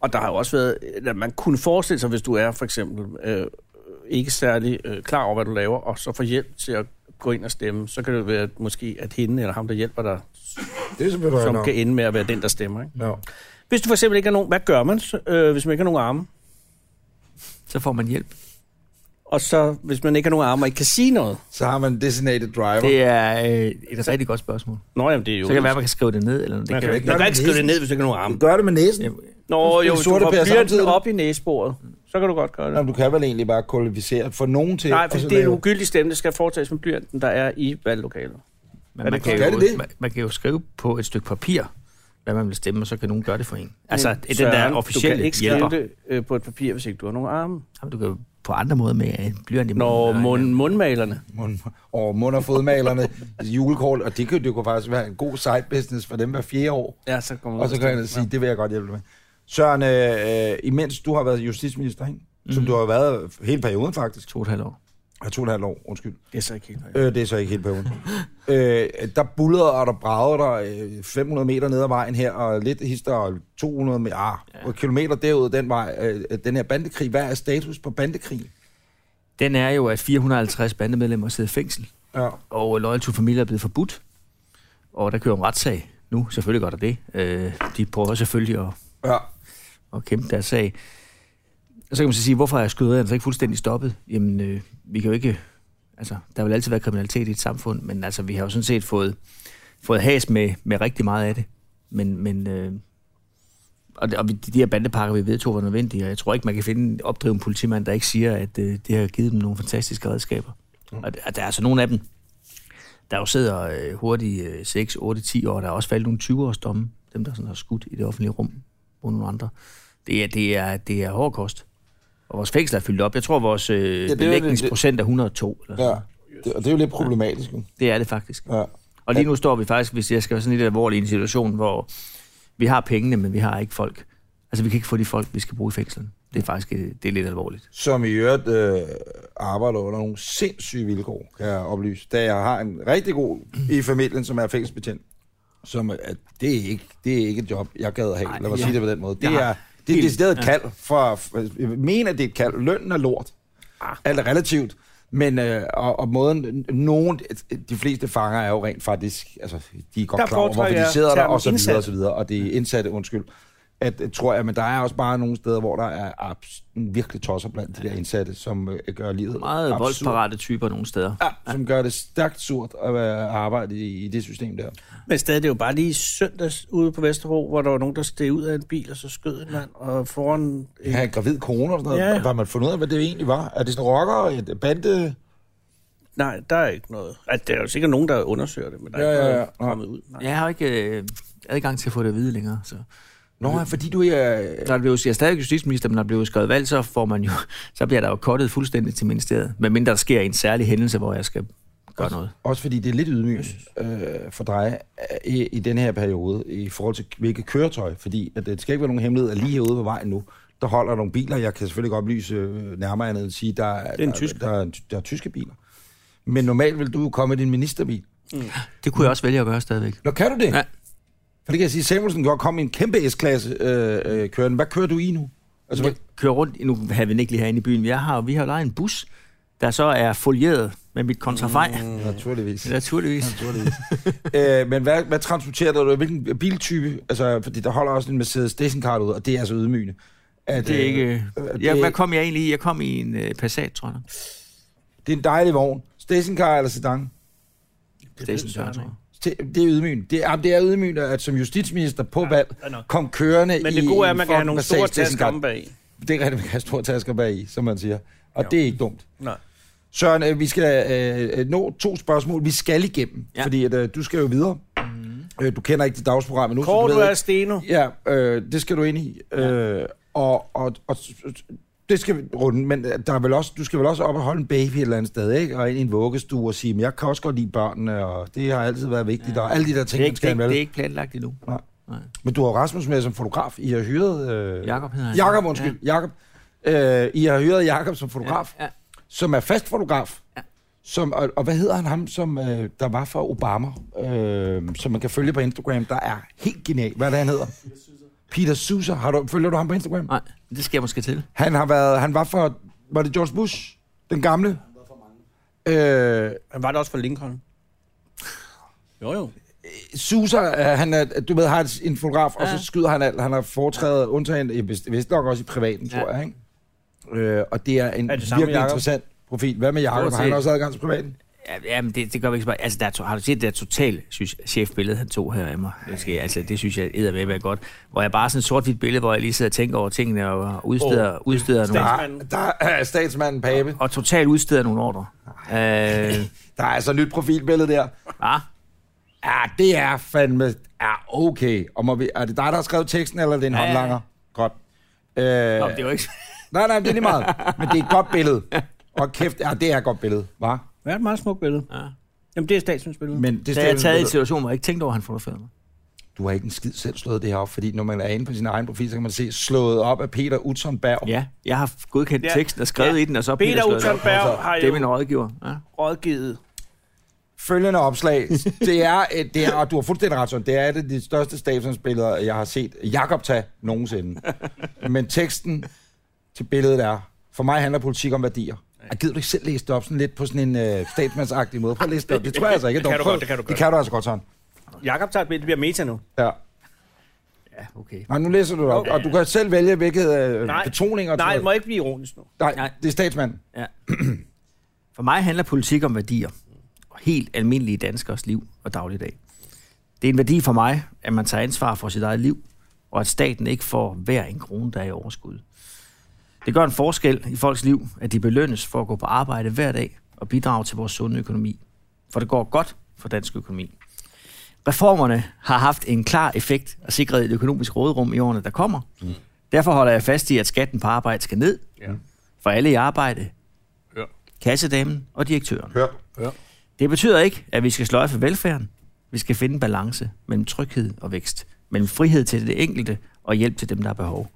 B: Og der har jo også været, eller man kunne forestille sig, hvis du er for eksempel øh, ikke særlig øh, klar over, hvad du laver, og så får hjælp til at gå ind og stemme, så kan det jo være at måske, at hende eller ham, der hjælper dig,
A: Det er selvfølgelig
B: som
A: nok.
B: kan ende med at være den, der stemmer. Ikke?
A: Ja.
B: Hvis du for eksempel ikke har nogen, hvad gør man, så, øh, hvis man ikke har nogen arme?
C: Så får man hjælp.
B: Og så, hvis man ikke har nogen arme og ikke kan sige noget.
A: Så har man designated driver. Det,
C: Det er øh, et rigtig godt spørgsmål.
B: Nå, jamen, det er jo...
C: Så kan det være, at man kan skrive det ned, eller noget.
B: man kan,
C: Det kan
A: jo
B: man
A: ikke
B: kan
A: gøre det
B: ikke skrive
A: med
B: det ned, hvis du ikke har nogen
A: du
B: arme.
A: gør det med næsen.
C: Jamen,
B: Nå,
A: spille
B: jo, hvis du
A: sorte
B: har
A: pære
B: blyanten
A: samtidig.
B: op i næsebordet, så kan du godt gøre det.
A: Jamen, du kan vel egentlig bare kvalificere for nogen til...
B: Nej,
A: og så
B: for det er en
A: lave-
B: ugyldig stemme, det skal foretages med blyanten, der er i valglokalet.
C: Men man,
B: det
C: kan
A: klart?
C: jo,
A: Skal det det?
C: man, man kan jo skrive på et stykke papir, hvad man vil stemme, og så kan nogen gøre det for en. Altså,
B: Men
C: Men, den der
B: Søren,
C: officielle
B: Du kan ikke skrive
C: hjælper.
B: det øh, på et papir, hvis ikke du har nogen arme.
C: Jamen, du kan jo på andre måder med øh, blyant i
B: Når
C: munden, eller-
B: mund, mundmalerne.
A: mund, og mund- og
B: *laughs*
A: fodmalerne, julekort, og det kunne, det kunne faktisk være en god side business for dem hver fjerde år.
B: Ja, så kommer
A: Og så kan jeg sige, det vil jeg godt hjælpe dig med. Søren, øh, øh, imens du har været justitsminister, ikke?
B: Mhm.
A: som du har været hele perioden faktisk,
C: To og et halvt år.
A: Ja, to og et halvt år, undskyld.
B: Det er så ikke helt rigtigt.
A: Øh, det er så ikke helt perioden. *laughs* øh, der bullerede og der bragede der øh, 500 meter ned ad vejen her, og lidt hister og 200 meter, ah, ja. kilometer derud den vej. Øh, den her bandekrig, hvad er status på bandekrig?
C: Den er jo, at 450 bandemedlemmer sidder i fængsel,
A: Ja.
C: og Loyal to Familie er blevet forbudt. Og der kører en retssag nu, selvfølgelig godt er det. Øh, de prøver selvfølgelig at
A: ja.
C: og kæmpe deres sag. Og så kan man så sige, hvorfor er skyderierne så ikke fuldstændig stoppet? Jamen, øh, vi kan jo ikke... Altså, der vil altid være kriminalitet i et samfund, men altså, vi har jo sådan set fået, fået has med, med rigtig meget af det. Men, men øh, og, det- og vi- de her bandepakker, vi vedtog, var nødvendige, og jeg tror ikke, man kan finde opdrive en politimand, der ikke siger, at øh, det har givet dem nogle fantastiske redskaber.
A: Mm.
C: Og, og der er altså nogle af dem, der jo sidder øh, hurtigt øh, 6, 8, 10 år, der er også faldet nogle 20-års domme, dem der sådan har skudt i det offentlige rum mod nogle andre. Det er, det er, det er hård kost. Og vores fængsel er fyldt op. Jeg tror, vores øh,
A: det er
C: ja,
A: jo det-
C: belægningsprocent er 102. Eller
A: ja.
C: sådan. Ja.
A: Det, og det er jo lidt problematisk. ikke?
C: Det er det faktisk.
A: Ja.
C: Og lige nu står vi faktisk, hvis jeg skal være sådan lidt alvorlig, i en situation, hvor vi har pengene, men vi har ikke folk. Altså, vi kan ikke få de folk, vi skal bruge i fængslen. Det er faktisk øh, det er lidt alvorligt.
A: som i øvrigt øh, arbejder under nogle sindssyge vilkår, kan jeg oplyse. Da jeg har en rigtig god i familien, som er fængselsbetjent, som er, at det, er ikke, det er ikke et job, jeg gad have.
C: Ej,
A: Lad mig
C: ja.
A: sige det på den måde. Det
C: Jeg har
A: er, det er
C: helt-
A: et decideret kald. For, for, jeg mener, det er et kald. Lønnen er lort.
C: Ah.
A: Alt er relativt. Men øh, og, og måden, nogen, de fleste fanger er jo rent faktisk, altså de er godt
B: Der
A: klar over, hvorfor
B: foretrækker
A: de sidder
B: jeg
A: der, og så
B: termen
A: videre, og
B: indsat.
A: så videre, og det er indsatte, undskyld. At, øh, tror jeg, men der er også bare nogle steder, hvor der er abs- virkelig tosser blandt de der indsatte, som øh, gør livet
C: Meget
A: absurd.
C: voldsparate typer nogle steder.
A: Ja, som gør det stærkt surt at være- arbejde i, i det system der.
B: Men stadig, det er jo bare lige i søndags ude på Vesterbro, hvor der var nogen, der steg ud af en bil, og så skød en mand, og foran...
A: Jeg har en gravid kone og sådan noget.
B: Ja.
A: Ja. Var man fundet ud af, hvad det egentlig var? Er det sådan rocker, et bande...
B: nej, der er ikke noget. Altså, der er jo sikkert nogen, der undersøger det, men der er
A: Ja,
B: ikke
A: ja,
B: noget
A: ja. Nå.
B: kommet ud. Nej.
C: Jeg har jo ikke øh, adgang til at få det at vide længere. Så.
A: Nå, ja, fordi du er...
C: Når det blev, jeg er stadig justitsminister, men når der bliver skrevet valg, så, får man jo, *laughs* så bliver der jo kottet fuldstændig til ministeriet. Medmindre der sker en særlig hændelse, hvor jeg skal gøre noget.
A: Også fordi det er lidt ydmygt øh, for dig øh, i, i den her periode, i forhold til hvilket køretøj, fordi at det skal ikke være nogen hemmelighed, at lige herude på vejen nu, der holder nogle biler. Jeg kan selvfølgelig ikke oplyse øh, nærmere andet end at sige, der er,
B: er en
A: der,
B: tysker.
A: der, er, der er tyske biler. Men normalt vil du jo komme i din ministerbil.
C: Det kunne jeg også vælge at gøre stadigvæk.
A: Nå, kan du det?
C: Ja.
A: For det kan jeg sige, Samuelsen kan godt komme i en kæmpe S-klasse øh, øh, kørende. Hvad kører du i nu? Altså,
C: Jeg
A: hvad-
C: kører rundt, nu har vi den ikke lige herinde i byen, men jeg har, vi har jo lejet en bus, der så er folieret med mit kontrafej. Mm.
A: naturligvis.
C: Naturligvis.
A: Naturligvis. øh, men hvad, hvad transporterer du? Hvilken biltype? Altså, fordi der holder også en Mercedes Station Card ud, og det er altså ydmygende. At,
C: Det er ikke...
A: øh, det,
C: Jeg, hvad kom jeg egentlig i? Jeg kom i en øh, Passat, tror jeg.
A: det er en dejlig vogn. Station Car eller sedan?
C: Station, tror jeg.
A: Det det er ydmygende. Det, jamen, det er ydmygende, at som justitsminister på valg
B: ja, nok.
A: kom kørende
B: Men
A: i
B: det gode er, at
A: en
B: man kan have
A: fucking
B: nogle
A: Mercedes
B: store
A: Station
B: tasker
A: Card.
B: om bag.
A: Det er rigtigt, man kan have store tasker bag i, som man siger. Og
B: Jo.
A: det er ikke dumt.
B: Nej.
A: Søren, øh, vi skal øh, øh, nå to spørgsmål. Vi skal igennem, ja.
C: Ja.
A: fordi at, øh, du skal jo videre. Mm. Øh, du kender ikke dit dagsprogram endnu. så du
B: Kort
A: ved
B: du er
A: ikke-
B: Steno.
A: Ja, øh, det skal du ind i. Øh, og, og, og det skal vi runde, men øh, der er vel også, du skal vel også op og holde en baby et eller andet sted, ikke? Og ind i en vuggestue og sige, men jeg kan også godt lide børnene, og det har altid været vigtigt, ja. og alle de der
C: Det er,
A: ting, man
C: ikke, det,
A: skal
C: er ikke, det er
A: vel.
C: ikke planlagt endnu.
A: Nej.
C: Nej.
A: Men du har Rasmus med som fotograf. I har hyret... Øh,
C: Jakob hedder han.
A: Jakob, undskyld. Ja. Jakob. Øh, I har hyret Jakob som fotograf,
C: Ja. Ja.
A: som er fast fotograf.
C: Ja.
A: Som, og, og hvad hedder han ham, som øh, der var for Obama, øh, som man kan følge på Instagram, der er helt genial. Hvad er det, han hedder? Peter Sousa. Har du, følger du ham på Instagram?
C: Nej, det skal jeg måske til.
A: Han har været, han var for, var det George Bush? Den gamle? Øh,
B: Han var der også for Lincoln. Jo, jo.
A: Sousa, øh, han er, du ved, har et- en fotograf, ja. og
C: Ja.
A: så skyder han alt. Han har foretrædet, undtagen, i vist vist nok også i privaten, ja.
C: Ja.
A: tror jeg, ikke? Øh, og det er en
B: Er
A: er
B: det
A: det
B: samme
A: virkelig
B: Jacob?
A: interessant profil. Hvad med Jacob?
C: Stort
A: Har han
C: set.
A: også adgang til privaten?
C: Ja, Jamen, det, det gør vi ikke så meget. Altså, der, er to- har du set det der totale synes, chefbillede, han tog her af mig? Det, skal, altså, det synes jeg eddermame er godt. Hvor jeg bare har sådan et sort-hvidt billede, hvor jeg lige sidder og tænker over tingene og udsteder, oh. udsteder nogle...
B: Statsmanden.
A: Der, der er *laughs* statsmanden Pape.
C: Og totalt udsteder nogle ordre. Øh,
A: Der er altså et nyt profilbillede der.
C: ah,
A: Ja, det er fandme... Ja, okay. Og må vi, er det dig, der har skrevet teksten, eller er det en ja,
C: Ja, ja.
A: håndlanger? Godt. Øh,
C: Nå, det var ikke...
A: Nej, nej, det er lige meget. Men det er et godt billede. Og kæft, ja, det er et godt billede, var.
B: Det er et meget smukt billede.
C: Ja.
B: Jamen, det er statsmandsbilledet.
A: Men det
C: Da jeg er taget i en
A: billede-
C: situation, hvor jeg ikke tænkte over, at han fotograferede mig.
A: du har ikke en skid selv slået det her op, fordi når man er inde på sin egen profil, så kan man se slået op af Peter Utzon Berg.
C: Ja, jeg har godkendt
B: Ja.
C: teksten og skrevet
B: Ja.
C: i den, og så har
B: Peter
C: skrevet det op.
B: Utzon Berg har
C: Det er min
B: jo
C: rådgiver. Ja.
B: rådgivet.
A: Følgende
B: *laughs*
A: opslag, det er, et- det er, og du har fuldstændig ret, Søren, det er et af de største statsmandsbilleder, jeg har set Jakob tage nogensinde.
B: *laughs*
A: Men teksten til billedet er, for mig handler politik om værdier. Jeg gider du ikke selv læse det op sådan lidt på sådan en øh, statsmandsagtig måde? Prøv at læse det op. Det tror jeg altså ikke. er
B: Det kan
A: dumt.
B: du godt,
A: Prøv-
B: det kan du
A: Det
B: godt.
A: kan du altså godt, sådan.
B: Jakob tager et billede, det bliver meta nu.
A: Ja.
C: ja, okay.
A: Nej, nu læser du det op, og du kan selv vælge, hvilket øh,
B: Nej.
A: betoninger...
B: Nej, det må ikke blive ironisk nu.
A: Nej,
C: Nej.
A: det er statsmanden.
C: *clears throat* For mig handler politik om værdier. Og helt almindelige danskers liv og dagligdag. Det er en værdi for mig, at man tager ansvar for sit eget liv, og at staten ikke får hver en krone, der er i overskud. Det gør en forskel i folks liv, at de belønnes for at gå på arbejde hver dag og bidrage til vores sunde økonomi. For det går godt for dansk økonomi. Reformerne har haft en klar effekt og sikret et økonomisk råderum i årene, der kommer. Derfor holder jeg fast i, at skatten på arbejde skal ned.
B: Ja.
C: For alle i arbejde,
B: Ja.
C: kassedamen og direktøren.
A: Hør.
C: Det betyder ikke, at vi skal sløjfe velfærden. Vi skal finde en balance mellem tryghed og vækst, mellem frihed til det enkelte og hjælp til dem, der har behov.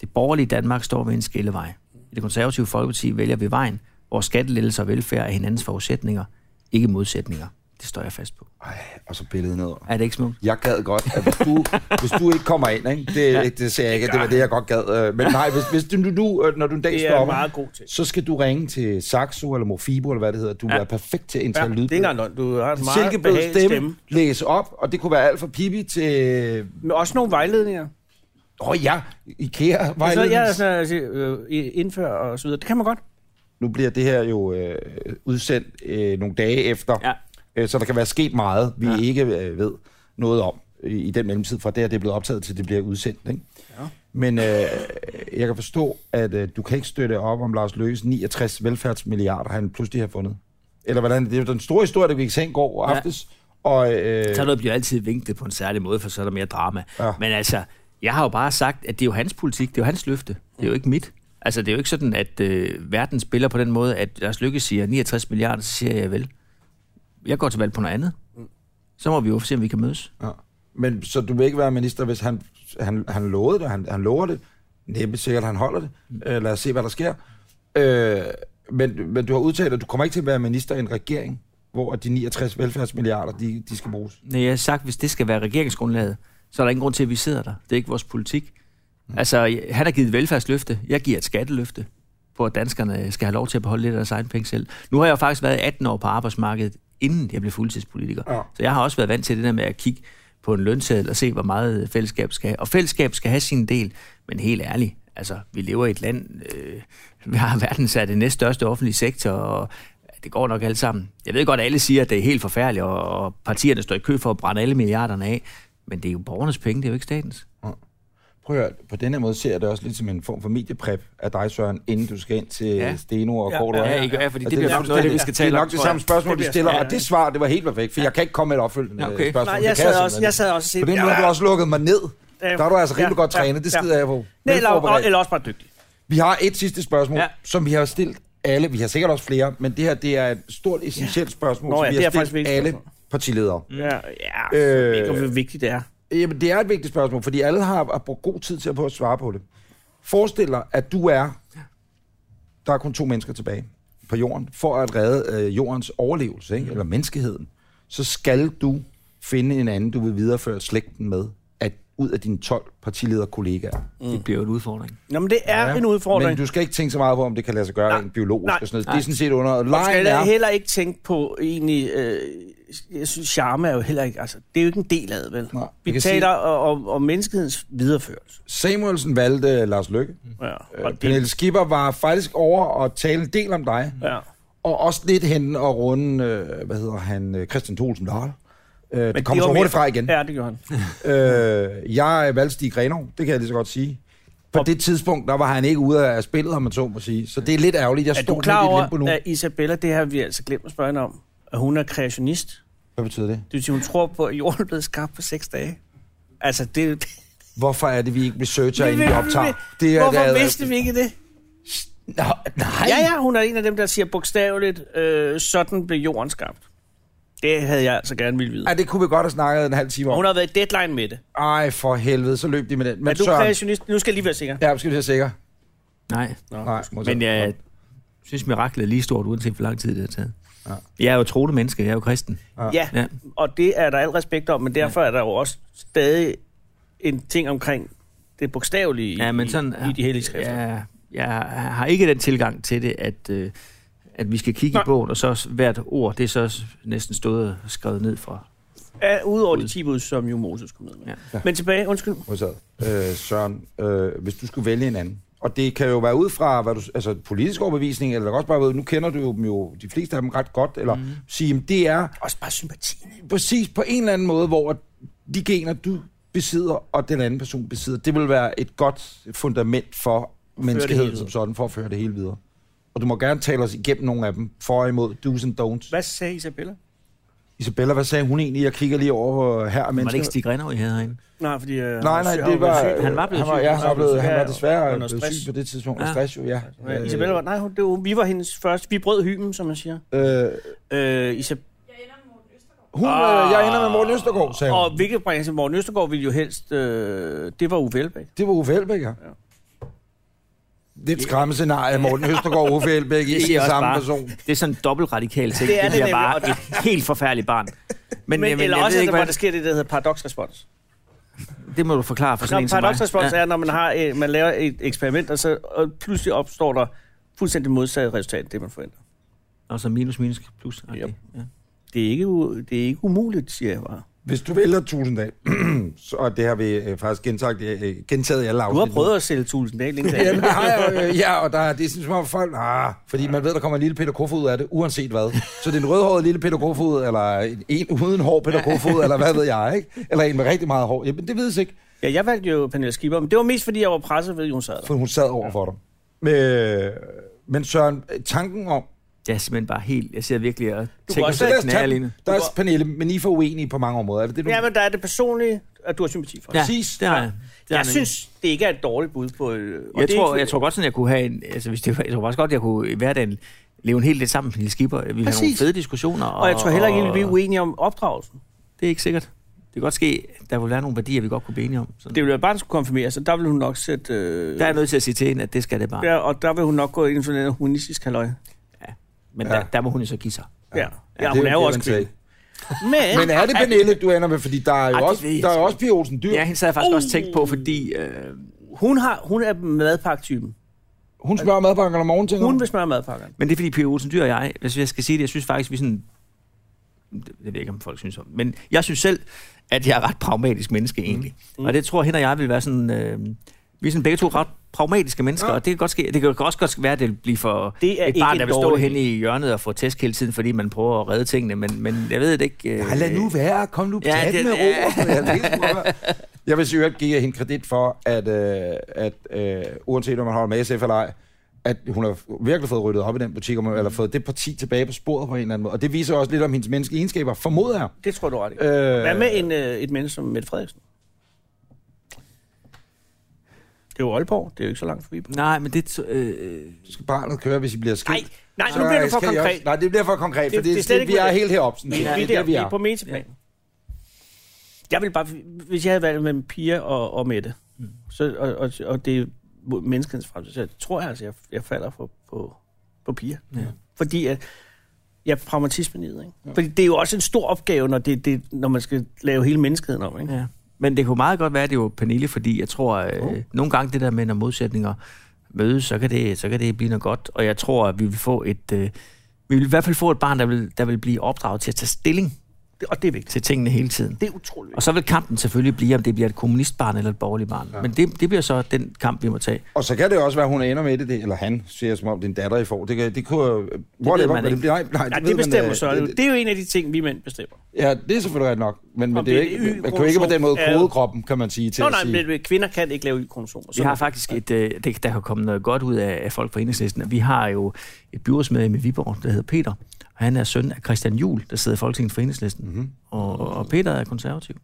C: Det borgerlige Danmark står ved en skillevej. I det konservative Folkeparti vælger vi vejen, hvor skattelettelser og velfærd er hinandens forudsætninger, ikke modsætninger. Det står jeg fast på.
A: Ej, og så billedet ned.
C: Er det ikke smukt?
A: Jeg gad godt, at hvis du,
B: *laughs*
A: hvis du ikke kommer ind, ikke? Det, ja, det ser jeg ikke, at det var det, jeg godt gad. øh, Men nej, hvis, hvis du nu, øh, når du en dag
B: Det er en
A: stopper,
B: meget god ting.
A: så skal du ringe til Saxo eller Mofibo, eller hvad det hedder. Du ja. er perfekt til at
B: Ja,
A: indtale
B: det er
A: lyd.
B: ikke engang løgn. Du har en meget
A: Silkeblød
B: behagelig
A: stemme,
B: stemme.
A: stemme, læse op, og det kunne være alt fra Pippi til...
B: Men også nogle vejledninger.
A: Åh oh, ja, ikea
B: Så
A: vejledning.
B: jeg er sådan, altså, øh, indfør og så videre. Det kan man godt.
A: Nu bliver det her jo øh, udsendt øh, nogle dage efter, ja.
C: Ja.
A: øh, så der kan være sket meget, vi ja. ikke øh, ved noget om i, i den mellemtid, fra det, at det er blevet optaget til, det bliver udsendt. Ikke? Ja. Men øh, jeg kan forstå, at øh, du kan ikke støtte op om Lars Løges 69 velfærdsmilliarder, han pludselig har fundet. Eller hvordan, det er jo den store historie, der gik i seng går
C: Ja.
A: aftes. Og, øh,
C: Så er noget bliver altid vinklet på en særlig måde, for så er der mere drama.
A: Ja.
C: Ja. Men altså, jeg har jo bare sagt, at det er jo hans politik, det er jo hans løfte, det er jo ikke mit. Altså, det er jo ikke sådan, at øh, verden spiller på den måde, at Lars Lykke siger 69 milliarder, så siger jeg vel. Jeg går til valg på noget andet. Så må vi jo se, om vi kan mødes.
A: ja. Men så du vil ikke være minister, hvis han, han, han lovede det, han, han lover det. Næppe sikkert, han holder det. Øh, lad os se, hvad der sker. Øh, men, men du har udtalt, at du kommer ikke til at være minister i en regering, hvor at de 69 velfærdsmilliarder, de, de skal bruges.
C: Nej, jeg har sagt, hvis det skal være regeringsgrundlaget, så er der ingen grund til, at vi sidder der. Det er ikke vores politik. Altså, jeg- han har givet et velfærdsløfte. Jeg giver et skatteløfte på, at danskerne skal have lov til at beholde lidt af deres egen penge selv. Nu har jeg jo faktisk været 18 år på arbejdsmarkedet, inden jeg blev fuldtidspolitiker.
A: Ja.
C: Ja. Så jeg har også været vant til det der med at kigge på en lønseddel og se, hvor meget øh, fællesskab skal have. Og fællesskab skal have sin del, men helt ærligt, altså, vi lever i et land, øh, *laughs* vi har verdens af det næststørste offentlige sektor, og det går nok alt sammen. Jeg ved godt, at alle siger, at det er helt forfærdeligt, og, og partierne står i kø for at brænde alle milliarderne af, men det er jo borgernes penge, det er jo ikke statens.
A: Prøv at høre, på den her måde ser jeg det også lidt som en form for mediepræp af dig, Søren, inden du skal ind til ja.
C: Ja.
A: Steno og
B: Ja,
A: Korte.
B: ja,
C: ikke? Ja, fordi
A: Og bliver fuldstændig- Det er nok det samme spørgsmål,
B: Det
A: de
B: bliver-
A: stiller,
B: ja, ja.
A: og det svar, det var helt perfekt, for jeg kan ikke komme med et opfølgende
C: Ja,
A: øh,
C: okay.
A: spørgsmål.
B: Nej,
A: Det kan
B: jeg sad, også,
A: simpelthen
B: jeg
A: ikke.
B: sad også og
A: På den måde har du også lukket mig ned. Der er du altså rimelig godt trænet, det skider jeg på.
B: Nej, eller,
A: Velforberedt.
B: eller også bare dygtig.
A: Vi har et sidste spørgsmål,
C: Ja.
A: som vi har stillet alle. Vi har sikkert også flere, men det her det er et stort essentielt spørgsmål,
B: Nå ja,
A: som vi
B: det
A: har
B: er faktisk
A: stillet
B: vigtigt
A: alle
B: spørgsmål.
A: partiledere.
B: Ja, ja
A: Øh.
B: øh, ikke, hvor vigtigt det er.
A: Jamen, det er et vigtigt spørgsmål, fordi alle har, har brugt god tid til at prøve at svare på det. Forestil dig, at du er... Der er kun to mennesker tilbage på jorden. For at redde øh, jordens overlevelse, ikke? eller menneskeheden, så skal du finde en anden, du vil videreføre slægten med, at, ud af dine 12 partilederkollegaer.
C: Det bliver jo en udfordring.
B: Nå, men det er ja, en udfordring.
A: Men du skal ikke tænke så meget på, om det kan lade sig gøre
B: Nej.
A: rent biologisk
B: Nej.
A: og sådan noget. Det
C: Nej.
A: er sådan set under...
B: Man
A: Lejen
B: skal da
A: er...
B: heller ikke tænke på egentlig... Øh, jeg synes, charme er jo heller ikke... Altså, det er jo ikke en del af det, vel?
A: Nej, vi
B: Vi
A: kan sige-
B: taler om, om, om menneskehedens videreførelse.
A: Samuelsen valgte Lars Løkke.
B: Ja,
A: Øh,
B: og det-
A: Pernille Skipper var faktisk over at tale en del om dig.
B: ja.
A: Og også lidt hen og runde, øh, hvad hedder han, øh, Christian Tholsen Dahl. Øh, det
B: var
A: kommer så
B: mere-
A: hurtigt fra igen.
B: Ja, det gjorde han.
A: Øh, jeg valgte Stig Grenov, det kan jeg lige så godt sige. På
B: Og-
A: det tidspunkt, der var han ikke ude af spillet, om man så må sige. Så det er lidt ærgerligt. Jeg
B: Er
A: står
B: du klar
A: lidt i et limbo
B: over,
A: nu.
B: at Isabella, det har vi altså glemt at spørge hende om, at hun er kreationist?
A: Hvad betyder det?
B: Det vil sige, hun tror på, at jorden er blevet skabt på seks dage. Altså, det... det
A: Hvorfor er det, vi ikke
B: *laughs*
A: researcher, inden vi optager? Det er
B: Hvorfor
A: da-
B: vidste vi ikke det?
A: Nå, nej.
B: Ja, ja, hun er en af dem, der siger bogstaveligt, øh, sådan blev jorden skabt. Det havde jeg altså gerne ville vide.
A: Ej, det kunne vi godt have snakket en halv time
B: Hun
A: om.
B: har været i deadline med det.
A: Ej, for helvede, så løb de med den.
B: Men er
A: Men
B: du
A: Søren,
B: kreationist? Nu skal jeg lige være sikker.
A: ja, skal vi være sikre.
C: Nej,
A: Nej, måske.
C: men øh,
B: øh,
C: jeg synes, miraklet er lige stort, uanset hvor lang tid det har taget.
A: Ja.
C: Jeg er jo troende menneske, jeg er jo kristen.
B: Ja. ja.
C: Ja.
B: Og det er der al respekt om, men derfor er der jo også stadig en ting omkring det bogstavelige i,
C: ja, men sådan,
B: i, i de hellige skrifter. Ja.
C: Ja, jeg har ikke den tilgang til det, at, øh, at vi skal kigge
B: Nej.
C: i bogen, og så s- hvert ord, det er så s- næsten stået og skrevet ned fra.
B: Ja, Udover de 10 bud, som jo Moses kom ned med. Ja.
C: Ja.
B: Men tilbage, undskyld.
A: Modtaget. Øh, Søren, øh, hvis du skulle vælge en anden, og det kan jo være ud fra hvad du, altså, politisk overbevisning, eller det kan også bare ved, nu kender du jo dem jo, de fleste af dem ret godt, eller mm.
C: Mhm.
A: sige, at det er
B: Også bare sympati.
A: præcis på en eller anden måde, hvor de gener, du besidder, og den anden person besidder, det vil være et godt fundament for menneskeheden
B: hele
A: som sådan, for at føre det hele videre. Og du må gerne tale os igennem nogle af dem, for og imod, do's and don'ts.
B: Hvad sagde Isabella?
A: Isabella, hvad sagde hun egentlig? Jeg kigger lige over hvor her.
C: Var det ikke Stig Renov, I havde herinde?
B: Nej, fordi... Øh,
A: Nej, nej, det var...
C: Han var blevet
A: han var,
C: syg.
A: Ja, han var, blevet, han var
B: Ja,
A: desværre
B: under
A: blevet
B: stress.
A: syg på det tidspunkt. Ja.
C: Ja.
A: Stress jo, ja. Øh,
B: Ja, Isabella var, nej, hun, det var, vi var hendes første. Vi brød hymen, som man siger.
A: Øh,
B: Øh, Isab-
A: hun,
B: Ah.
A: øh, jeg ender med Morten Østergaard, sagde hun.
B: og hvilket bringer til Morten Østergaard ville jo helst... Øh, det var Uffe Elbæk.
A: Det var Uffe Elbæk, ja. Det er et skræmmescenarie, at Morten Østergaard og Uffe Elbæk
C: Det
A: ikke
C: siger
A: er
C: også
A: samme
C: bare-
A: person.
C: Det er sådan en dobbeltradikal
B: *laughs*
C: ting.
B: Det er
C: Det
B: det
C: er, det
B: nemlig,
C: er bare
B: og det-
C: et helt forfærdeligt
B: *laughs*
C: barn.
B: Men, men eller også,
C: ved
B: at der,
C: ikke,
B: hvor
C: hvad,
B: der sker det, der hedder paradoksrespons.
C: det må du forklare for
B: Nå,
C: sådan en som mig.
B: paradoksrespons ja. er, når man, har, øh, man laver et eksperiment, og så og pludselig opstår der fuldstændig modsat resultat af det, man forventer.
C: Og så minus, minus, plus. Okay.
B: Yep.
C: Ja.
B: Det er ikke, u- det er ikke umuligt, siger jeg bare.
A: Hvis du vælger Tusinddal, *clears throat* så, og det har vi øh, faktisk gentaget, øh, gentaget i alle
B: Du
A: afsnit.
B: har prøvet at sælge Tulsendal, ikke?
A: Jamen, det har jeg, jo, øh, ja, og der, er- det er sådan, som om folk, ah, fordi man ved, der kommer en lille Peter Kofod ud af det, uanset hvad. Så det er en rødhåret lille Peter Kofod, eller en, en uden hår Peter Kofod, eller hvad ved jeg, ikke? Eller en med rigtig meget hår. Jamen, det vides ikke,
B: Ja, jeg valgte jo Pernille Skipper, men det var mest, fordi jeg var presset ved, at hun sad der.
A: for hun sad over for dig. Men, men Søren, Øh, tanken om,
C: Jeg er simpelthen bare helt... Jeg sidder virkelig og
B: Du kan
C: tænker
A: Så
B: også
C: sådan
A: lad os tage
C: knaldende.
A: den. Der er også Pernille, men I er for uenige på mange områder. Er det det, du...
B: Ja, men der er det personlige, at du har sympati for.
C: Ja,
A: præcis.
C: det har jeg. Det har
B: Jeg synes, det ikke er et dårligt bud på... øh, Og
C: Jeg
B: det er
C: tror,
B: ikke,
C: jeg tror godt, sådan, jeg kunne have en... Altså, hvis det, var- jeg tror faktisk godt, jeg kunne i hverdagen leve en hel del sammen med Pernille Skipper. Vi har nogle
B: Præcis.
C: fede diskussioner.
B: og jeg tror heller ikke, at vi er uenige om opdragelsen.
C: Det er ikke sikkert. Det kan godt ske, der vil være nogle værdier, vi godt kunne blive enige om. Sådan.
B: Det ville være barn, der skulle konfirmere, så der vil hun nok sætte... Øh,
C: der er jeg nødt til at sige til hende, at det skal det bare.
B: der, og der vil hun nok gå ind i sådan en humanistisk halløj.
C: Men
A: Ja.
C: der, der må hun jo så give sig.
B: Ja, ja, ja
A: det
B: hun er jo
A: give
B: også
A: and take.
B: kvinde. Men,
A: Men er det Pernille, du ender med? Fordi der er jo
C: Ej, det
A: også,
C: ved jeg
A: der er
C: sgu
A: også Pia Olsen Dyr.
C: Ja, hende sad jeg faktisk uh. også tænkt på, fordi... Øh,
B: hun, har, hun er madpakketypen.
A: Hun spørger madpakkerne om morgenen, tænker
B: Hun
A: hun.
B: vil smøre madpakkerne.
C: men det er fordi, Pia Olsen Dyr og jeg, hvis jeg skal sige det, jeg synes faktisk, vi sådan... Det jeg ved jeg ikke, om folk synes om. Men jeg synes selv, at jeg er et ret pragmatisk menneske egentlig. Mm. Og det tror hende og jeg vil være sådan... Øh, vi er sådan begge to ret pragmatiske mennesker, ja. og det kan godt ske. Det kan også godt være, at det bliver for
B: Det er
C: et barn,
B: ikke
C: der vil stå
B: dårligt.
C: hen i hjørnet og få tæsk hele tiden, fordi man prøver at redde tingene, men, men jeg ved det ikke. Øh,
A: Ej, Ah, lad nu være. Kom nu,
C: Ja,
A: ja,
C: det-
A: det, med ro.
C: ja.
A: Jeg, ved sgu godt, hvad- *laughs* jeg vil sikkert give hende kredit for, at, øh, at øh, uanset om man holder med SF eller ej, at hun har virkelig fået ryddet op i den butik, og man- eller fået det parti tilbage på sporet på en eller anden måde. Og det viser også lidt om hendes menneskelige egenskaber, formoder jeg.
B: Det tror du ret i.
A: Øh,
B: Hvad med en, øh, et menneske som Mette Frederiksen? Det er jo Aalborg, det er jo ikke så langt forbi.
C: Nej, men det... Øh,
A: Skal barnet køre, hvis I bliver skilt?
B: Nej, nej, nu bliver du for
A: skal I
B: konkret.
A: Også, nej, det bliver for konkret,
B: Det-
A: for det,
B: det er
A: det,
B: slet
A: det,
B: ikke
A: vi er
B: med-
A: helt heroppe. Sådan,
B: Vi,
A: set.
B: vi,
A: det
B: der,
A: vi
B: vi
A: er.
B: er på metaplanen. Jeg vil bare, hvis jeg havde været mellem Pia og, og Mette, så, og, og, og det er menneskens fremtid, så tror jeg altså, jeg, jeg falder på, på, på Pia.
C: Ja.
B: Fordi at, jeg er pragmatismen i det, ikke? Fordi det er jo også en stor opgave, når, det, det, når man skal lave hele menneskeheden om, ikke?
C: Ja. Men det kunne meget godt være, at det var Pernille, fordi jeg tror, øh,
A: Jo.
C: nogle gange det der med, når modsætninger mødes, så kan, det, så kan det blive noget godt. Og jeg tror, at vi vil få et... Øh, vi vil i hvert fald få et barn, der vil, der vil blive opdraget til at tage stilling
B: Det, og det er vigtigt.
C: til tingene hele tiden.
B: Det er utroligt
C: Og så vil kampen selvfølgelig blive, om det bliver et kommunistbarn eller et borgerligt barn. Ja. Men det, det bliver så den kamp, vi må tage.
A: Og så kan det jo også være, hun ender med det, det eller han, siger jeg som om, det er en datter, I får. Det, kan, det kunne... Det
C: ved
A: whatever,
C: man
A: men det
C: ikke.
A: bliver, nej, nej,
B: Ja,
A: ved
B: det bestemmer
A: man, øh,
B: så.
A: det-
B: Det, det er jo en af de ting, vi mænd bestemmer.
A: Ja, det er selvfølgelig ret nok. Men, men
B: Om
A: det er jo
B: det er
A: ikke, man kan jo
B: Y-kromosom
A: ikke på den måde
B: er jo-
A: kode kroppen, kan man sige, til
B: Nå
A: at
B: nej,
A: sige.
B: men øh, kvinder kan ikke lave y-kromosomer.
C: Vi har
B: Sådan.
C: faktisk et, øh, det, der kan komme noget godt ud af, af folk fra enhedslisten, og vi har jo et byrådsmedlem i Viborg, der hedder Peter, og han er søn af Christian Juhl, der sidder i Folketinget for enhedslisten,
A: Mhm.
C: mm-hmm. og, og Peter er konservativ.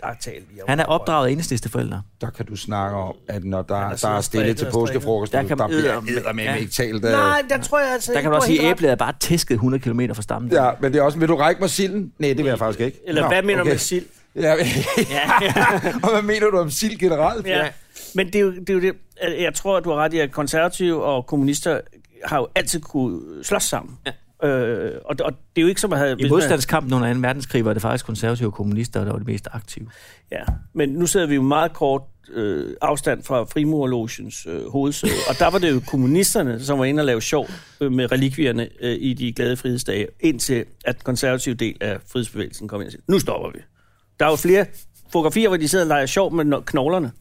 B: Der taler vi om.
C: Han er opdraget af enhedsliste forældre.
A: Der kan du snakke om, at når der,
B: er
A: der
B: sådan
A: er stille
B: strikket
A: til
B: og
A: påskefrokost,
C: strikket.
A: der,
C: Der kan
A: der
C: man
A: bliver
C: eddermame-
A: eddermame
C: ja.
A: ikke talt. øh.
B: Nej, der tror jeg altså
C: Der
B: ikke,
C: kan man også
B: du har
C: sige, at
B: helt ret.
C: æblet er bare tæsket 100 km fra stammen.
A: Ja, men det er også, vil du række mig silden? Nej, det vil jeg faktisk ikke.
B: Eller
A: Nå,
B: hvad mener du
A: okay.
B: med sild?
A: Ja, *laughs* og hvad mener du om sild generelt?
B: Ja. Men det er, jo, det er jo det. Jeg tror, at du har ret i, at konservative og kommunister har jo altid kunne slås sammen. Ja. Øh, og, og det er jo ikke som at have...
C: I
B: hvis man-
C: modstandskampen under 2. verdenskrig var det faktisk konservative og kommunister, der var de mest aktive.
B: Ja, men nu sidder vi jo meget kort øh, afstand fra Frimurlogens øh, hovedsæde, og der var det jo kommunisterne, som var inde og lave sjov øh, med relikvierne øh, i de glade frihedsdage, indtil at den konservative del af frihedsbevægelsen kom ind og sagde, nu stopper vi. Der er jo flere fotografier, hvor de sidder og leger sjov med no- knoglerne.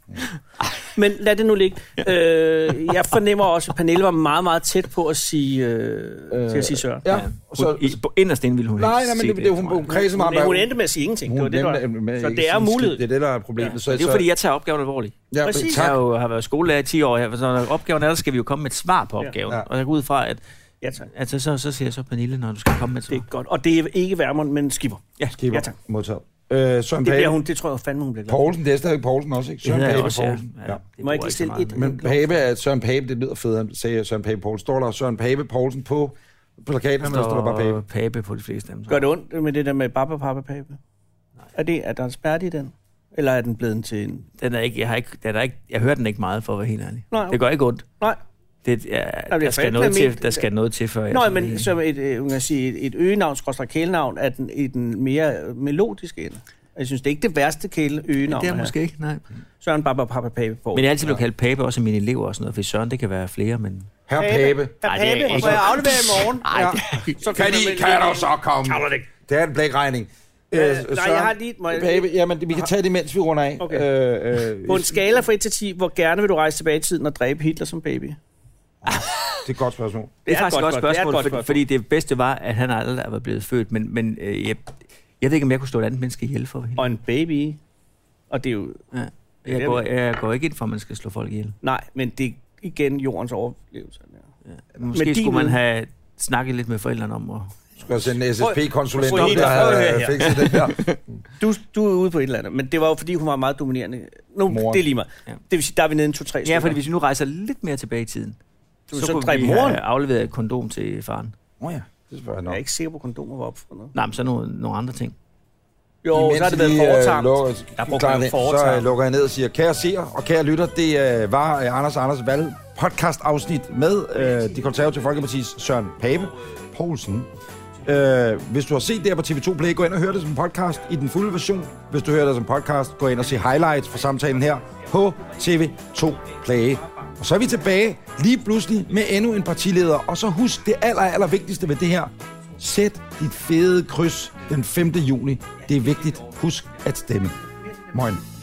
B: Men lad det nu ligge. Øh, jeg fornemmer også, at Pernille var meget, meget tæt på at sige, øh, til at sige Søren.
A: Ja,
C: Hun,
A: så,
C: så, I, på inderst inde ville hun
A: nej,
C: helst
A: nej, men
C: se
A: det, det, hun,
C: tror jeg.
A: hun kredser meget
B: Men
A: om,
B: hun
A: hvad-
B: endte med at sige ingenting. Det var
A: hun
B: det, der
A: endte
B: var.
A: med
B: Så
A: ikke
B: det er
A: sådan en skid.
B: mulighed.
A: Det er det, der er problemet. Ja. Så,
C: Men det er
A: så-
C: jo fordi, jeg tager opgaven alvorligt.
A: ja,
B: Præcis.
A: præcis.
C: Jeg har
A: Tak.
C: jo har været skolelærer i 10 år, her, så når opgaven er der, skal vi jo komme med et svar på opgaven.
A: Ja.
C: Ja.
A: Ja.
C: Og jeg går ud fra, at
B: Ja, tak.
C: altså, så, så siger jeg så, Pernille, når du skal komme med et
B: Det
C: svar.
B: er godt. Og det er ikke Værmund, men Skipper.
C: Ja,
A: Skipper.
B: Ja, tak.
A: Modtaget. Øh, Søren
B: Det, bliver
A: Pape.
B: hun, det tror jeg fandme, hun bliver glad for.
A: Poulsen, det er stadig Poulsen også, ikke?
C: det
A: Søren
C: hedder jeg
A: Pape
C: også, ja.
A: Poulsen. Ja.
C: det
B: Må jeg ikke
C: bruger
B: lige
C: så
B: stille
C: meget,
B: et-
A: Men Pape er Søren Pape, det lyder federe, sagde Søren Pape Poulsen. Står der Søren Pape Poulsen på plakaten, men der står der bare Pape.
C: Pape. Pape på de fleste af dem.
B: Gør det ondt med det der med babba pappa pape? Er, det, er der en spærte i den? Eller er den blevet til en...
C: Den er ikke, jeg, har ikke, den er ikke, jeg hører den ikke meget, for at være helt ærlig.
B: Nej, okay.
C: Det gør ikke ondt.
B: Nej,
C: Det, ja,
B: jeg
C: der,
B: for
C: skal
B: ikke
C: noget
B: med
C: til,
B: mit-
C: der skal noget til, før jeg...
B: Nå,
C: sådan
B: men
C: lige-
B: som et, øh, man kan sige, et, et øgenavn, skråstrej kælenavn, er den, i den mere øh, melodiske ende. Jeg synes, det er ikke det værste kæle øgenavn.
C: det er måske ikke, nej.
B: Søren Baba Papa Pape på.
C: Men jeg er altid blevet kaldt Pape, også af mine elever og sådan noget, for Søren, det kan være flere, men...
A: Herre Pape.
B: Herre
C: Nej, det er
B: Pape,
C: ikke-
B: må jeg aflevere i morgen?
C: Ej,
A: Ja.
B: *laughs* Så
A: Kan,
B: finder
A: I,
B: man-
A: kan du så komme? Det er en blækregning. Øh,
B: nej,
A: Søren
B: jeg har lige- må jeg-
A: Pape, jamen, vi kan tage det, mens vi runder af.
B: Okay.
A: Øh, øh,
B: På en skala fra 1 til 10, hvor gerne vil du rejse tilbage i tiden og dræbe Hitler som baby? Det
A: det er et godt spørgsmål.
C: Det er, faktisk et godt
B: det er et
C: spørgsmål,
B: godt
C: godt fordi, fordi det bedste var, at han aldrig var blevet født, men, men øh, jeg, jeg ved ikke, om jeg kunne stå et andet menneske ihjel for hende.
B: Og en baby, og det er jo
C: Ja.
B: det er
C: Jeg, går, jeg går ikke ind for, at man skal slå folk ihjel.
B: Nej, men det er igen jordens overlevelse. Ja.
C: Måske
B: din
C: skulle man
B: viden-
C: have snakkede lidt med forældrene om, og
A: Skulle jeg sende en SSP-konsulent
B: Prøv-
A: op,
B: prøv
A: der
B: helt- prøv at
A: havde
B: høre her.
A: fikset
B: *laughs*
A: det her?
B: Du, du er ude på et eller andet, men det var jo fordi, hun var meget dominerende. Nu,
A: Mor.
B: det er lige mig.
C: Ja.
B: Det vil sige, der er vi nede en 2-3
C: Ja,
B: stykker.
C: fordi hvis vi nu rejser lidt mere tilbage i tiden,
B: Du vil så
C: kunne
B: dræbe
C: vi
B: moren.
C: have afleveret et kondom til faren.
A: Åh oh, ja, det spørger jeg
B: Jeg
A: nok.
B: er ikke sikker på, at kondomer var opfundet.
C: Nej, men så nogle, nogle andre ting.
B: Jo,
A: Imens
B: så har det
A: I
B: været
A: lige, øh,
B: foretamt.
A: lukker-
B: Der brugte
A: klarer
B: man jo
A: det, Så øh,
B: foretamt.
A: lukker jeg ned og siger, kære seer og kære lytter, det øh, var øh, Anders og Anders Val podcast-afsnit med øh, de konservative Folkepartis Søren Pape Poulsen. Øh, hvis du har set det her på TV2 Play, gå ind og hør det som podcast i den fulde version. Hvis du hører det som podcast, gå ind og se highlights fra samtalen her på TV2 Play. Og så er vi tilbage lige pludselig med endnu en partileder. Og så husk det aller, aller vigtigste ved det her. Sæt dit fede kryds den 5. juni. Det er vigtigt. Husk at stemme. Moin.